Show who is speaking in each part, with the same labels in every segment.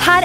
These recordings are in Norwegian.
Speaker 1: her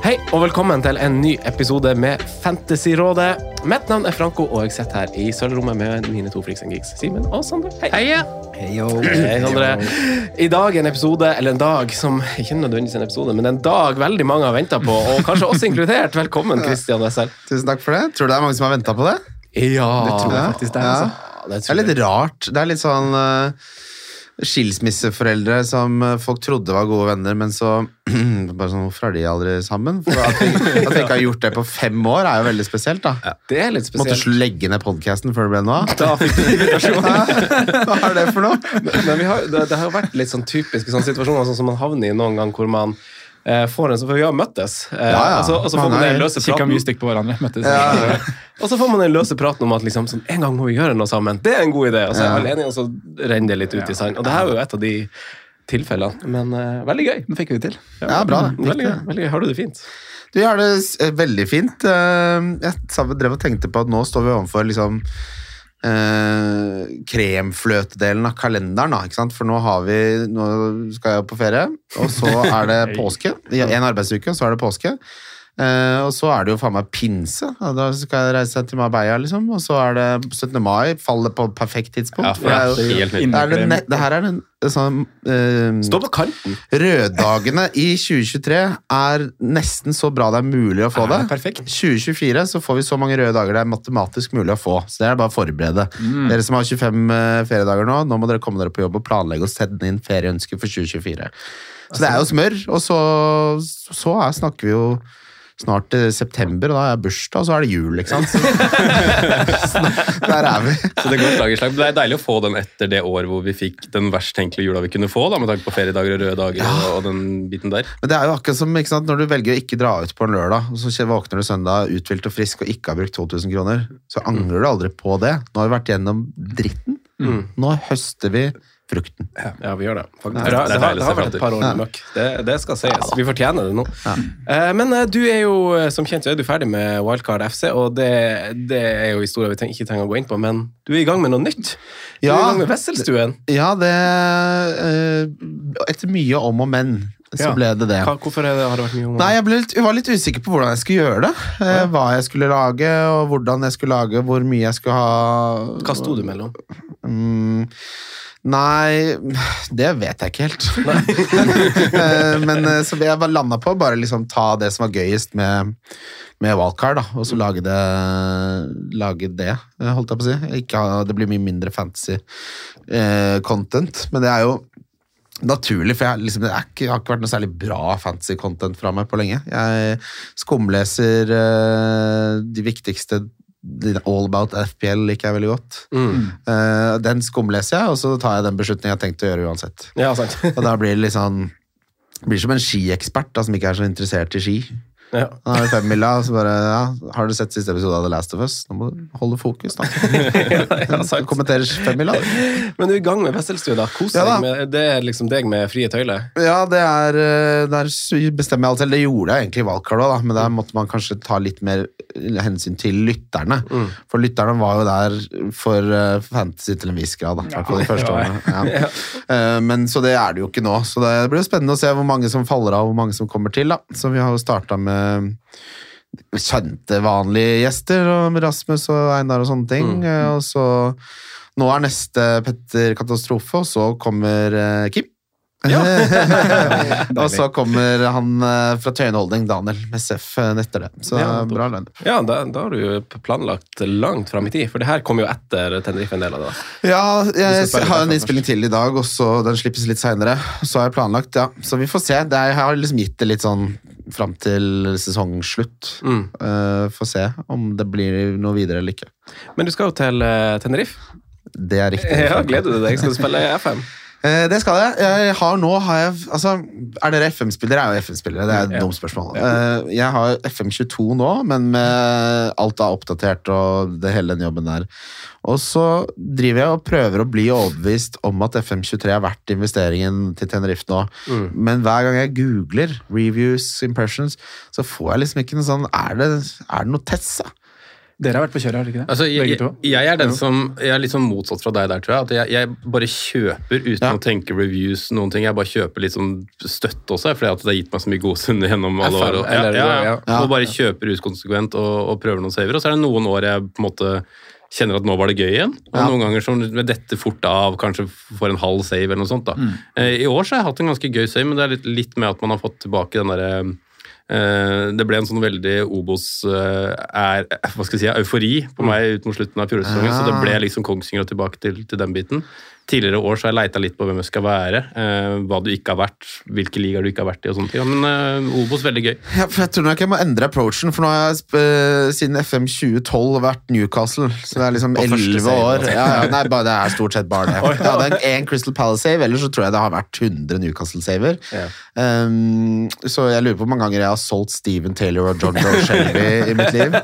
Speaker 2: Hei og velkommen til en ny episode med Fantasyrådet. Mitt navn er Franco, og jeg sitter her i sølvrommet med mine to Freaks and Geeks, Simen og Sondre. Hei. Hei, Sondre. I dag en episode, eller en dag som ikke nødvendigvis en episode, men en dag veldig mange har venta på, og kanskje oss inkludert. Velkommen, Christian Wessel.
Speaker 3: Tusen takk for det. Tror du det er mange som har venta på det?
Speaker 2: Ja, det
Speaker 3: tror jeg faktisk det er, altså.
Speaker 2: det
Speaker 3: Det er
Speaker 2: tror
Speaker 3: litt
Speaker 2: jeg.
Speaker 3: rart. Det er litt sånn eh, skilsmisseforeldre som eh, folk trodde var gode venner, men så bare sånn, Hvorfor er de aldri sammen? For at vi, at vi ikke har gjort det på fem år, er jo veldig spesielt, da.
Speaker 2: Det er litt
Speaker 3: Måtte
Speaker 2: spesielt.
Speaker 3: sl- legge ned podkasten før det ble noe av.
Speaker 2: Da fikk du invitasjon.
Speaker 3: Hæ? Hva er det for noe?
Speaker 2: Men vi har, det, det har jo vært litt sånn typiske sånn situasjoner sånn som man havner i noen gang hvor man eh, får en sånn, for vi har møttes, eh,
Speaker 3: Ja, ja.
Speaker 2: Og, så, og så får
Speaker 3: Man
Speaker 2: man
Speaker 3: er-
Speaker 2: den løse
Speaker 4: Kikka
Speaker 2: praten.
Speaker 4: mye stygt på hverandre. Møttes.
Speaker 2: Og så får man den løse praten om at liksom, sånn, en gang må vi gjøre noe sammen. Det er en god idé. Og så er alle enige, og så renner det litt ut i sand. Og det her er jo et av de tilfellene. Men eh, veldig gøy. Mm,
Speaker 4: Den fikk vi til.
Speaker 3: Ja, bra, det.
Speaker 2: Veldig gøy. veldig gøy. Har du det fint?
Speaker 3: Du gjør det s- eh, veldig fint. Eh, Jeg satt- drev og tenkte på at nå står vi overfor liksom eh, kremfløtedelen av kalenderen, da, ikke sant? for nå, har vi, nå skal jeg på ferie, og så er det påske. I en arbeidsuke, så er det påske. Eh, og så er det jo faen meg pinse. og Da skal jeg reise til Marbella, liksom. Og så er det 17. mai. Faller på perfekt tidspunkt.
Speaker 4: Ja,
Speaker 3: for det, er jo,
Speaker 2: helt
Speaker 3: det, er det, ne- det her er den sånn eh,
Speaker 2: Stå på kanten.
Speaker 3: Røddagene i 2023 er nesten så bra det er mulig å få det.
Speaker 2: Er det perfekt?
Speaker 3: 2024 så får vi så mange røde dager det er matematisk mulig å få. Så det er bare å forberede.
Speaker 2: Mm.
Speaker 3: Dere som har 25 feriedager nå, nå må dere komme dere på jobb og planlegge og sende inn ferieønsker for 2024. Så det er jo
Speaker 2: Altså-
Speaker 3: smør, og så, så er, snakker vi jo snart til september, og da har jeg bursdag, og så er det jul, ikke sant? Så, der er vi.
Speaker 5: Så det går slag i slag. Det er deilig å få den etter det år hvor vi fikk den verst tenkelige jula vi kunne få, da, med tanke på feriedager og røde dager og- og den biten der.
Speaker 3: Men det er jo akkurat som ikke sant, når du velger å ikke dra ut på en lørdag, og så kje- våkner du søndag uthvilt og frisk og ikke har brukt 2000 kroner, så angrer du aldri på det. Nå har vi vært gjennom dritten. Nå høster vi frukten.
Speaker 2: Ja, vi gjør det. faktisk.
Speaker 5: det
Speaker 2: Det,
Speaker 5: er
Speaker 2: har- det, har,
Speaker 5: deilig å
Speaker 2: det
Speaker 5: se
Speaker 2: har vært
Speaker 5: frem
Speaker 2: et par år med møkk. Det, det skal sies. Vi fortjener det nå. Eh, Men eh, du er jo, eh, som kjent, så er du ferdig med Wildcard FC, og det, det er jo historier vi treng- ikke trenger å gå inn på, men du er i gang med noe nytt. Du er i
Speaker 3: Ja.
Speaker 2: gang med Wesselstuen.
Speaker 3: Ja, det eh, Etter mye om og men, så
Speaker 2: Ja.
Speaker 3: ble det det.
Speaker 2: Hva- Hvorfor er det, har det vært mye om
Speaker 3: Nei, jeg, ble litt, jeg var litt usikker på hvordan jeg skulle gjøre det. Eh, Hva jeg skulle lage, og hvordan jeg skulle lage, hvor mye jeg skulle ha.
Speaker 2: Hva sto du mellom?
Speaker 3: Mm, nei, det vet jeg ikke helt. Eh, Men eh, så jeg bare landa på å bare liksom ta det som var gøyest med, med wildcard, da, og så lage det, lage det eh, holdt jeg på å si. Ikke, ha- det blir mye mindre fantasy eh, content, men det er jo naturlig, for jeg, liksom, det er ikke, har ikke vært noe særlig bra fancy content fra meg på lenge. Jeg skumleser eh, de viktigste de- All About FPL liker jeg veldig godt. Eh, den skumleser jeg, og så tar jeg den beslutningen jeg har tenkt å gjøre uansett.
Speaker 2: Ja, sant.
Speaker 3: Og da blir det litt sånn blir som en skiekspert da, som ikke er så interessert i ski.
Speaker 2: Ja.
Speaker 3: Han er femmila, og så bare ja, 'Har du sett siste episode av The Last of Us?' Nå må du holde fokus, da.
Speaker 2: sant.
Speaker 3: Kommenter femmila.
Speaker 2: Men du er i gang med Wesselstua, da. Kos
Speaker 3: Ja,
Speaker 2: deg
Speaker 3: da.
Speaker 2: med Det er liksom deg med frie tøyler.
Speaker 3: Ja, det er, eh, der s- bestemmer jeg alt selv. Det gjorde jeg egentlig i valgkart òg, men der måtte man kanskje ta litt mer hensyn til lytterne. For lytterne var jo der for eh, fantasy til en viss grad, da. i hvert fall de første årene. Ja. Eh, Men så det er det jo ikke nå. Så det blir jo spennende å se hvor mange som faller av, og hvor mange som kommer til, da. Så vi har jo starta med eh, kjente, vanlige gjester, og med Rasmus og Einar og sånne ting. eh, Og så Nå er neste Petter Katastrofe, og så kommer eh, Kim. og så kommer han eh, fra Tøyen Holding, Daniel Messef, etter det. Så eh,
Speaker 2: Ja,
Speaker 3: bra lineup.
Speaker 2: Ja, da, da har du jo planlagt langt fram i tid, for det her kom jo etter Tenerife en del av det. da.
Speaker 3: Ja, jeg
Speaker 2: skal spille
Speaker 3: har en
Speaker 2: derfra
Speaker 3: innspilling til i dag, og så den slippes litt seinere. Så har jeg planlagt, ja. Så vi får se. Det er, jeg har liksom gitt det litt sånn fram til sesongslutt. Mm. får se om det blir noe videre eller ikke.
Speaker 2: Men du skal jo til eh, Tenerife.
Speaker 3: Det er riktig.
Speaker 2: Ja, gleder du deg? Skal du spille FM?
Speaker 3: Eh, det skal jeg. jeg har, nå har jeg altså, Er dere FM-spillere? Jeg er jo FM-spillere. Det er et dumt spørsmål. Eh, jeg har FM22 nå, men med alt er oppdatert og det hele den jobben der. Og så driver jeg og prøver å bli overbevist om at FM23 er verdt investeringen til Tenerife nå. Men hver gang jeg googler reviews, impressions, så får jeg liksom ikke noe sånn Er det, er det noe Tessa?
Speaker 4: Dere har vært på kjøret, har dere ikke det?
Speaker 5: Altså, jeg,
Speaker 4: Begge
Speaker 5: jeg,
Speaker 4: to?
Speaker 5: jeg er den som Jeg er litt sånn motsatt fra deg der, tror jeg. At jeg, jeg bare kjøper uten
Speaker 3: Ja.
Speaker 5: å tenke reviews noen ting. Jeg bare kjøper litt sånn støtte også, fordi at det har gitt meg så mye godstunder gjennom alle
Speaker 2: FM,
Speaker 5: år. Og,
Speaker 2: eller-
Speaker 5: ja, ja,
Speaker 2: ja.
Speaker 5: ja. og bare kjøper uskonsekvent og, og prøver noen saver. Og så er det noen år jeg på en måte kjenner at nå var det gøy igjen. Og
Speaker 3: Ja.
Speaker 5: noen ganger som med dette fort av, kanskje får en halv save eller noe sånt. da.
Speaker 3: Mm.
Speaker 5: Eh, I år så har jeg hatt en ganske gøy save, men det er litt, litt med at man har fått tilbake den derre Eh, Det ble en sånn veldig Obos eh, er, hva skal jeg si, eufori
Speaker 3: Mm.
Speaker 5: på meg ut mot slutten av fjorårssesongen. Så det
Speaker 3: Ah.
Speaker 5: ble liksom Kongsvinger og tilbake til, til den biten. Tidligere år så har jeg leita litt på hvem jeg skal være, eh, hva du ikke har vært, hvilke ligaer du ikke har vært i og sånne ting. Ja, Men eh, Obos, veldig gøy.
Speaker 3: Ja, for jeg tror nok jeg må endre approachen, for nå har jeg sp- eh, siden FM 2012 vært Newcastle. Så det er liksom
Speaker 2: Og første
Speaker 3: 11
Speaker 2: save,
Speaker 3: år.
Speaker 2: altså.
Speaker 3: Ja, ja, nei, bare, det er stort sett bare det. Jeg hadde en- en Crystal Palace-save, ellers så tror jeg det har vært 100 Newcastle-saver. Um, så jeg lurer på hvor mange ganger jeg har solgt Steven Taylor og John Joe Shelby i mitt liv.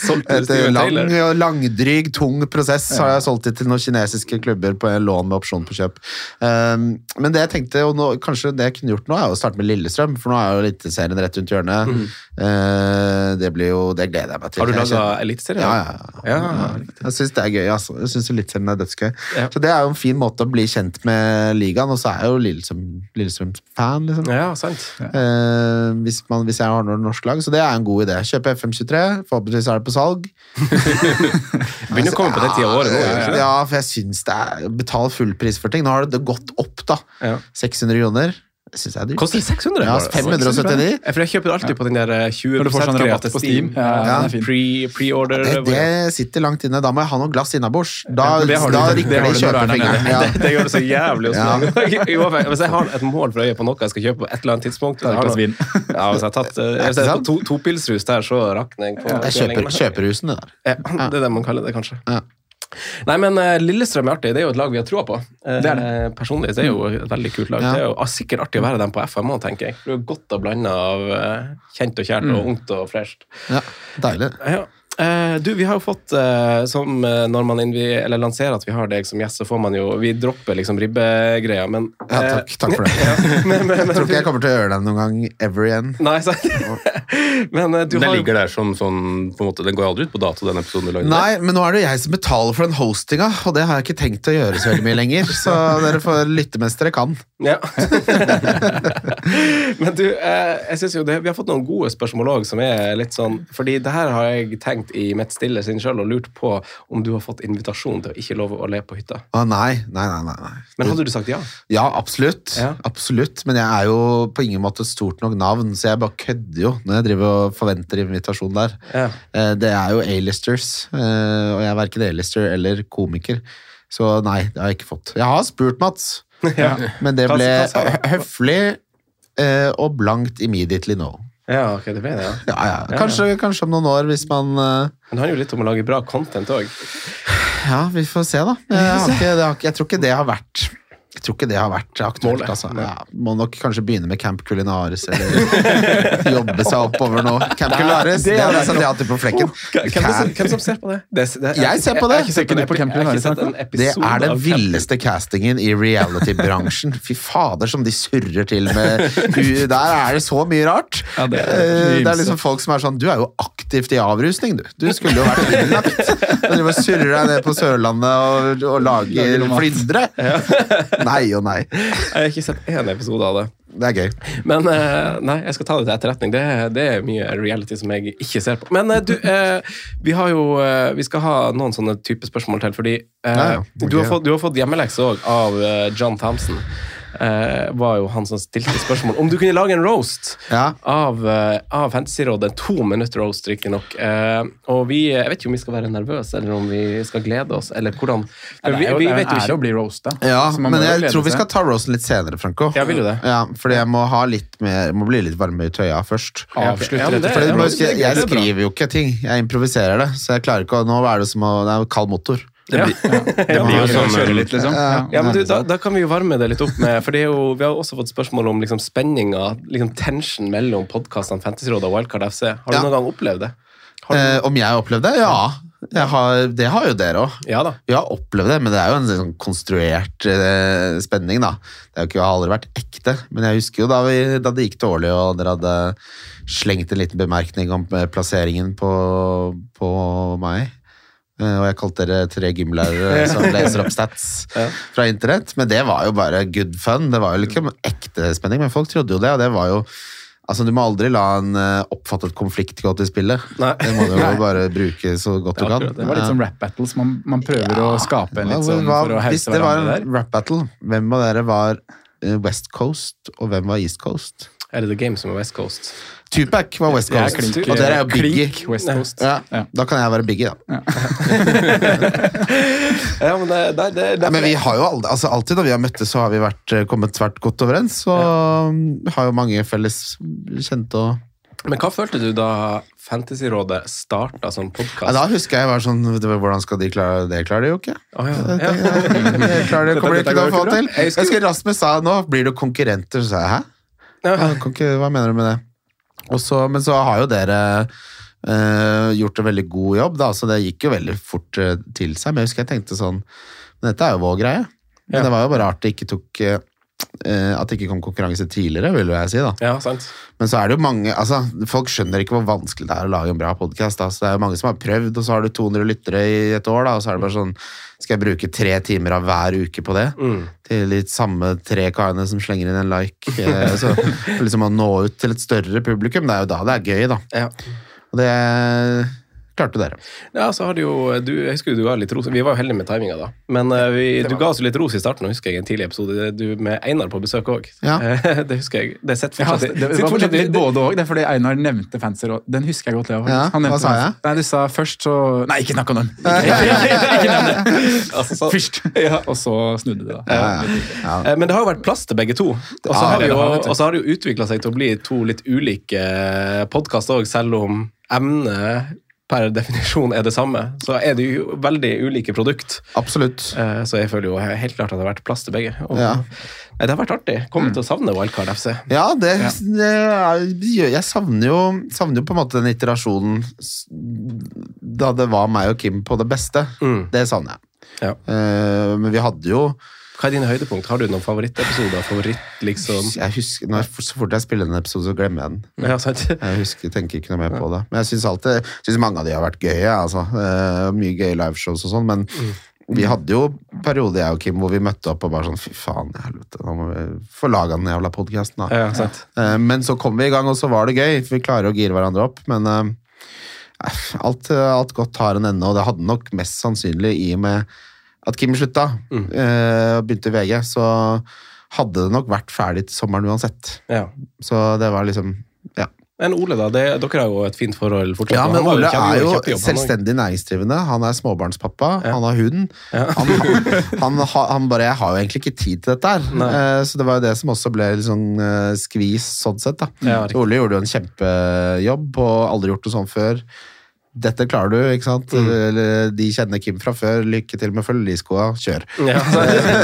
Speaker 2: Solgte du
Speaker 3: Etter
Speaker 2: Steven
Speaker 3: lang,
Speaker 2: Taylor?
Speaker 3: og langdryg, tung prosess har jeg solgt det til noen kinesiske klubber på en lån med opsjon på kjøp. Um, men det jeg tenkte, og nå, kanskje det jeg kunne gjort nå, er å starte med Lillestrøm, for nå er jo Eliteserien rett rundt hjørnet. Eh, det blir jo, det gleder jeg meg
Speaker 2: Mm.
Speaker 3: til.
Speaker 2: Har du
Speaker 3: Jeg
Speaker 2: laga
Speaker 3: kjenner-
Speaker 2: Eliteserien?
Speaker 3: ja, ja, ja.
Speaker 2: Ja,
Speaker 3: jeg syns det er gøy. Altså. Jeg synes Eliteserien er dødsgøy.
Speaker 2: Ja.
Speaker 3: Så Det er jo en fin måte å bli kjent med ligaen, og så er jeg jo Lillestrøm- Lillestrøm-fan. liksom.
Speaker 2: Ja, sant.
Speaker 3: Eh, hvis, man, hvis jeg har noe norsk lag, så det er en god idé. Kjøpe FM23, forhåpentligvis er det på salg.
Speaker 2: Begynner å komme på den tida av året nå. gjør det ikke det?
Speaker 3: Altså, Ja, for jeg syns det er Betal full pris for ting. Nå har det gått opp, da.
Speaker 2: Ja.
Speaker 3: 600 kroner. Det syns jeg er dyrt.
Speaker 2: Koster det 600?
Speaker 3: Ja,
Speaker 2: bare?
Speaker 3: 579.
Speaker 2: Ja, For jeg kjøper alltid på den der eh, 20
Speaker 4: Når du får sånn rabatt
Speaker 2: gratis
Speaker 4: på Steam. Ja,
Speaker 3: Ja.
Speaker 4: den er fin.
Speaker 2: Pre- Pre-order.
Speaker 3: Det,
Speaker 2: ja.
Speaker 3: det sitter langt inne. Da må jeg ha noe glass innabords. Da,
Speaker 4: Ja, men det har du-
Speaker 3: da
Speaker 4: det
Speaker 3: rykker
Speaker 4: har
Speaker 3: det
Speaker 4: du
Speaker 3: i
Speaker 4: når du er der nede.
Speaker 3: kjøpefingeren. Ja.
Speaker 2: Det, det gjør det så jævlig hos
Speaker 3: Ja.
Speaker 2: meg. Jo, for jeg- Hvis jeg har et mål for øyet på noe jeg skal kjøpe på et eller annet tidspunkt
Speaker 4: Da er det
Speaker 2: jeg har
Speaker 4: et glass
Speaker 2: noe- Ja, hvis jeg har tatt eh, hvis jeg har
Speaker 3: sant?
Speaker 2: tatt to, to pilsrus der, så rakner jeg på
Speaker 3: Jeg kjøper, kjøper rusen, det der.
Speaker 2: Ja, det er det man kaller det, kanskje.
Speaker 3: Ja.
Speaker 2: Nei, men eh, Lillestrøm er artig. Det er jo et lag vi har troa på. Eh,
Speaker 4: Det er
Speaker 2: Personlig det er jo et veldig kult lag.
Speaker 3: Ja.
Speaker 2: Det er jo ah, sikkert artig å være dem på FM òg, tenker jeg. Du er godt og blanda av eh, kjent og kjært
Speaker 3: Mm.
Speaker 2: og ungt og fresht.
Speaker 3: Ja, deilig.
Speaker 2: Ja. Eh, du, vi har jo fått eh, som eh, når man innvi, eller lanserer at vi har deg som gjest, så får man jo Vi dropper liksom ribbegreia, men
Speaker 3: Ja,
Speaker 2: eh,
Speaker 3: takk, takk for det.
Speaker 2: ja, men, men,
Speaker 3: Jeg tror ikke jeg
Speaker 2: men,
Speaker 3: kommer til å gjøre den noen gang ever igjen.
Speaker 2: Nei, sant? men eh, du
Speaker 5: Den
Speaker 2: har
Speaker 5: ligger der som sånn på en måte, Den går aldri ut på dato, den episoden du lagde.
Speaker 3: Nei, men nå er det jo jeg som betaler for den hostinga, og det har jeg ikke tenkt å gjøre så veldig mye lenger. Så dere får lytte mens dere kan.
Speaker 2: Ja. Men du, eh, jeg synes jo det, vi har fått noen gode spørsmål òg, som er litt sånn Fordi det her har jeg tenkt i mitt stille sinn sjøl og lurt på om du har fått invitasjon til å ikke love å le på hytta.
Speaker 3: Å nei, nei, nei, nei. nei.
Speaker 2: Men hadde du sagt ja?
Speaker 3: Ja, absolutt.
Speaker 2: Ja.
Speaker 3: absolutt. Men jeg er jo på ingen måte et stort nok navn, så jeg bare kødder jo når jeg driver og forventer invitasjon der.
Speaker 2: Ja.
Speaker 3: Eh, Det er jo A-listers, eh, og jeg er verken A-lister eller komiker. Så nei, det har jeg ikke fått. Jeg har spurt Mats,
Speaker 2: Ja,
Speaker 3: men det
Speaker 2: Hva-
Speaker 3: ble
Speaker 2: hva sa han?
Speaker 3: hø- høflig eh, og blankt immediately no.
Speaker 2: ja ok, det ble det, ja.
Speaker 3: Ja, ja. Kanskje, kanskje om noen år, hvis man eh,
Speaker 2: Men det handler jo litt om å lage bra content òg.
Speaker 3: Ja, vi får se, da. Jeg, har ikke, det har, ikke- jeg tror ikke det har vært jeg tror ikke det har vært aktuelt.
Speaker 2: Målet.
Speaker 3: Altså. Ja, må nok kanskje begynne med Camp Culinaris, eller jobbe seg oppover nå. Camp Culinaris, det hadde jeg sagt ja til på flekken.
Speaker 2: Hvem, som- hvem som ser på det? det, det
Speaker 3: Jeg ser på det.
Speaker 2: Jeg, jeg, jeg,
Speaker 4: Ikke du på
Speaker 2: jeg,
Speaker 4: Camp
Speaker 2: jeg har ikke sett en
Speaker 3: Det
Speaker 2: episode
Speaker 3: er
Speaker 2: av
Speaker 3: den
Speaker 2: Camp-
Speaker 3: villeste castingen i reality-bransjen. Fy fader, som de surrer til med hu- Der er det så mye rart.
Speaker 4: Ja, det er
Speaker 3: Eh, det er
Speaker 4: rimelig.
Speaker 3: liksom folk som er sånn Du er jo aktivt i avrusning, du. Du skulle jo vært innlagt. Du driver og surrer deg ned på Sørlandet og, og lager
Speaker 4: Lager noe mat.
Speaker 3: flyndre. Nei og nei.
Speaker 2: Jeg har ikke sett én episode av det.
Speaker 3: Det er gøy.
Speaker 2: Men eh, nei, jeg skal ta det til etterretning. Det, det er mye reality som jeg ikke ser på. Men eh, du, eh, vi har jo eh, Vi skal ha noen sånne type spørsmål til, fordi eh,
Speaker 3: Ja, ja.
Speaker 2: du, har fått, du har fått hjemmelekse òg av eh, John Thompson. Eh, var jo han som stilte spørsmål om du kunne lage en roast
Speaker 3: Ja.
Speaker 2: av, eh, av Fantasyrådet. To minutter roast, riktignok. Eh, og vi Jeg vet ikke om vi skal være nervøse, eller om vi skal glede oss, eller hvordan
Speaker 4: Det
Speaker 2: for
Speaker 4: er
Speaker 2: vi,
Speaker 4: jo,
Speaker 2: vi
Speaker 4: det er jo
Speaker 2: vet
Speaker 4: en ære
Speaker 2: jo
Speaker 4: å
Speaker 2: ikke.
Speaker 4: bli roasta.
Speaker 3: Ja,
Speaker 4: så man må
Speaker 3: men
Speaker 4: jo
Speaker 3: jeg
Speaker 4: glede
Speaker 3: tror vi
Speaker 4: seg.
Speaker 3: skal ta roasten litt senere, Franco.
Speaker 2: Ja, vil du det?
Speaker 3: Ja, fordi jeg må, ha litt mer, må bli litt varmere i tøya først.
Speaker 2: Ja, ok. Ja, men det-
Speaker 3: Fordi du
Speaker 2: ja,
Speaker 3: må huske,
Speaker 2: det- det er
Speaker 3: jeg
Speaker 2: bra.
Speaker 3: skriver jo ikke ting, jeg improviserer det. Så jeg klarer ikke å Nå er det som å Det er jo kald motor.
Speaker 2: Ja.
Speaker 5: Det blir jo sånn
Speaker 4: Kjøre litt, liksom. Ja.
Speaker 2: Ja, men du, da, da kan vi jo varme det litt opp med For det er jo, vi har også fått spørsmål om liksom, spenninga, liksom tension mellom podkastene Fantasyrådet og Wildcard FC. Har du
Speaker 3: Ja.
Speaker 2: noen gang opplevd det? Har du,
Speaker 3: Eh, om jeg har opplevd det? Ja. Jeg har, det har jo dere òg.
Speaker 2: ja da.
Speaker 3: Jeg har opplevd det, men det er jo en sånn konstruert eh, spenning, da. Det er jo ikke, har aldri vært ekte, men jeg husker jo da, vi, da det gikk dårlig, og dere hadde slengt en liten bemerkning om eh, plasseringen på, på meg. Eh, Og jeg kalte dere tre gymlærere som leser opp stats fra internett. Men det var jo bare good fun. Det var jo ikke en ekte spenning, men folk trodde jo det. Og det var jo Altså, Du må aldri la en eh, oppfattet konflikt gå til spille.
Speaker 2: Nei.
Speaker 3: Det må du jo bare bruke så godt du kan.
Speaker 4: Det var litt
Speaker 3: Ja.
Speaker 4: sånn rap battles. Man, man prøver å skape en litt sånn
Speaker 3: Hva-
Speaker 4: for å
Speaker 3: Hvis
Speaker 4: hause
Speaker 3: det var
Speaker 4: hverandre der.
Speaker 3: en rap battle, hvem av dere var eh, West Coast, og hvem var East Coast?
Speaker 2: Er det The Game som er West Coast?
Speaker 3: Tupac var West
Speaker 4: Jeg
Speaker 3: Coast,
Speaker 4: klink-
Speaker 3: og dere er jo
Speaker 4: klink
Speaker 3: Biggie.
Speaker 4: West Coast.
Speaker 3: Ja,
Speaker 4: Ja.
Speaker 3: Da kan jeg være Biggie, da.
Speaker 2: Ja, men det, det, det,
Speaker 3: Nei, men vi har jo aldri, altså alltid når vi har møttes, så har vi vært, eh, kommet svært godt overens. Og mm, har jo mange felles kjente og
Speaker 2: men hva følte du da Fantasyrådet starta som
Speaker 3: Nei, Da
Speaker 2: podkast?
Speaker 3: husker jeg jeg var sånn det var- Hvordan skal de klare det? klarer de jo ikke.
Speaker 2: ja.
Speaker 3: Det klarer de, kommer de
Speaker 2: Dette
Speaker 3: ikke
Speaker 2: går
Speaker 3: til å få
Speaker 2: ikke bra.
Speaker 3: til.
Speaker 2: Jeg
Speaker 3: Jeg
Speaker 2: husker-
Speaker 3: husker Rasmus sa nå blir du konkurrenter. Så sa jeg hæ? Ja, konkur- hva mener du med det? Og så, men så har jo dere eh, gjort en veldig god jobb, da, så det gikk jo veldig fort eh, til seg. Men jeg husker jeg tenkte sånn Men dette er jo vår greie. Men
Speaker 2: Ja.
Speaker 3: det var jo bare rart det ikke tok eh, eh, At det ikke kom konkurranse tidligere, vil jo jeg si. da.
Speaker 2: ja, sant.
Speaker 3: Men så er det jo mange altså, Folk skjønner ikke hvor vanskelig det er å lage en bra podkast. Det er jo mange som har prøvd, og så har du 200 lyttere i et år, da, og så er det bare sånn Skal jeg bruke tre timer av hver uke på det?
Speaker 4: Mm.
Speaker 3: Til de samme tre karene som slenger inn en like. eh, Så, for liksom å nå ut til et større publikum. Det er jo da det er gøy, da.
Speaker 2: Ja.
Speaker 3: Og det klarte dere.
Speaker 2: ja, så har du jo du, Jeg husker jo du ga litt ros. Vi var jo heldige med timinga, da. Men eh, vi, du ga oss jo litt ros i starten, husker jeg, i en tidlig episode. Du med Einar på besøk òg.
Speaker 3: Ja.
Speaker 2: Det husker jeg. Det sitter
Speaker 4: Ja,
Speaker 2: fortsatt,
Speaker 3: Altså,
Speaker 4: det, det
Speaker 2: sitter fortsatt
Speaker 4: var fortsatt
Speaker 2: i-
Speaker 4: litt både òg. Det er fordi Einar nevnte fancy råd. Den husker jeg godt. Leo.
Speaker 3: Ja,
Speaker 4: Han nevnte
Speaker 3: hva sa
Speaker 4: fancy-
Speaker 3: jeg?
Speaker 4: Nei, du sa først så Nei, ikke snakk om den! Ikke, ikke nevn det!
Speaker 2: Altså, så-
Speaker 4: Først!
Speaker 2: Ja.
Speaker 4: Og så snudde det, da.
Speaker 3: Ja, ja.
Speaker 2: Eh, Men det har jo vært plass til begge to. Og så
Speaker 3: Ja,
Speaker 2: har, vi
Speaker 3: det
Speaker 2: jo-
Speaker 3: har det, vet du.
Speaker 2: og så har det jo utvikla seg til å bli to litt ulike podkaster òg, selv om emnet per definisjon er det samme. Så er det jo veldig ulike produkt.
Speaker 3: Absolutt.
Speaker 2: Eh, Så jeg føler jo helt klart at det har vært plass til begge. Og
Speaker 3: Ja. Mm.
Speaker 2: Nei, det har vært artig. Kommer til å savne Wildcard FC.
Speaker 3: Ja, det, det er, det gjør- jeg savner jo, savner jo på en måte den iterasjonen s- da det var meg og Kim på det beste.
Speaker 2: Mm.
Speaker 3: Det savner jeg.
Speaker 2: Ja.
Speaker 3: Eh, men vi hadde jo
Speaker 2: Hva er dine høydepunkt? Har du noen favorittepisoder? Favoritt, liksom?
Speaker 3: jeg husker, når, jeg- Så fort jeg spiller en episode, så glemmer jeg den.
Speaker 2: Ja, sant?
Speaker 3: Jeg husker, tenker ikke noe mer på det. Men jeg syns alltid synes mange av de har vært gøye. Altså. Eh, mye gøye liveshows og sånn, men vi hadde jo perioder, jeg og Kim, hvor vi møtte opp og bare sånn Fy faen, helvete, nå må vi få laga den jævla podkasten, da.
Speaker 2: Ja, sant.
Speaker 3: Eh, Men så kom vi i gang, og så var det gøy. for Vi klarer å gire hverandre opp, men eh, alt, eh, alt godt har en ende, og det hadde nok mest sannsynlig i og med at Kim slutta eh, og begynte i VG, så hadde det nok vært ferdig til sommeren uansett.
Speaker 2: Ja.
Speaker 3: Så det var liksom ja.
Speaker 2: Men Ole, da. Det, dere har jo et fint forhold fortsatt.
Speaker 3: ja,
Speaker 2: og
Speaker 3: men
Speaker 2: han var
Speaker 3: Ole
Speaker 2: kjempe-
Speaker 3: er jo
Speaker 2: kjempejobb, han også.
Speaker 3: selvstendig næringsdrivende. Han er småbarnspappa, han har hund. Han, han, ha- han bare 'Jeg har jo egentlig ikke tid til dette her'. Eh, Så det var jo det som også ble litt sånn eh, skvis sånn sett, da.
Speaker 2: Ja, riktig.
Speaker 3: Ole gjorde jo en kjempejobb, og aldri gjort det sånn før. Dette klarer du, ikke sant?
Speaker 2: Mm.
Speaker 3: Eller, De kjenner Kim fra før. Lykke til med følgeskoa, kjør!
Speaker 2: Ja,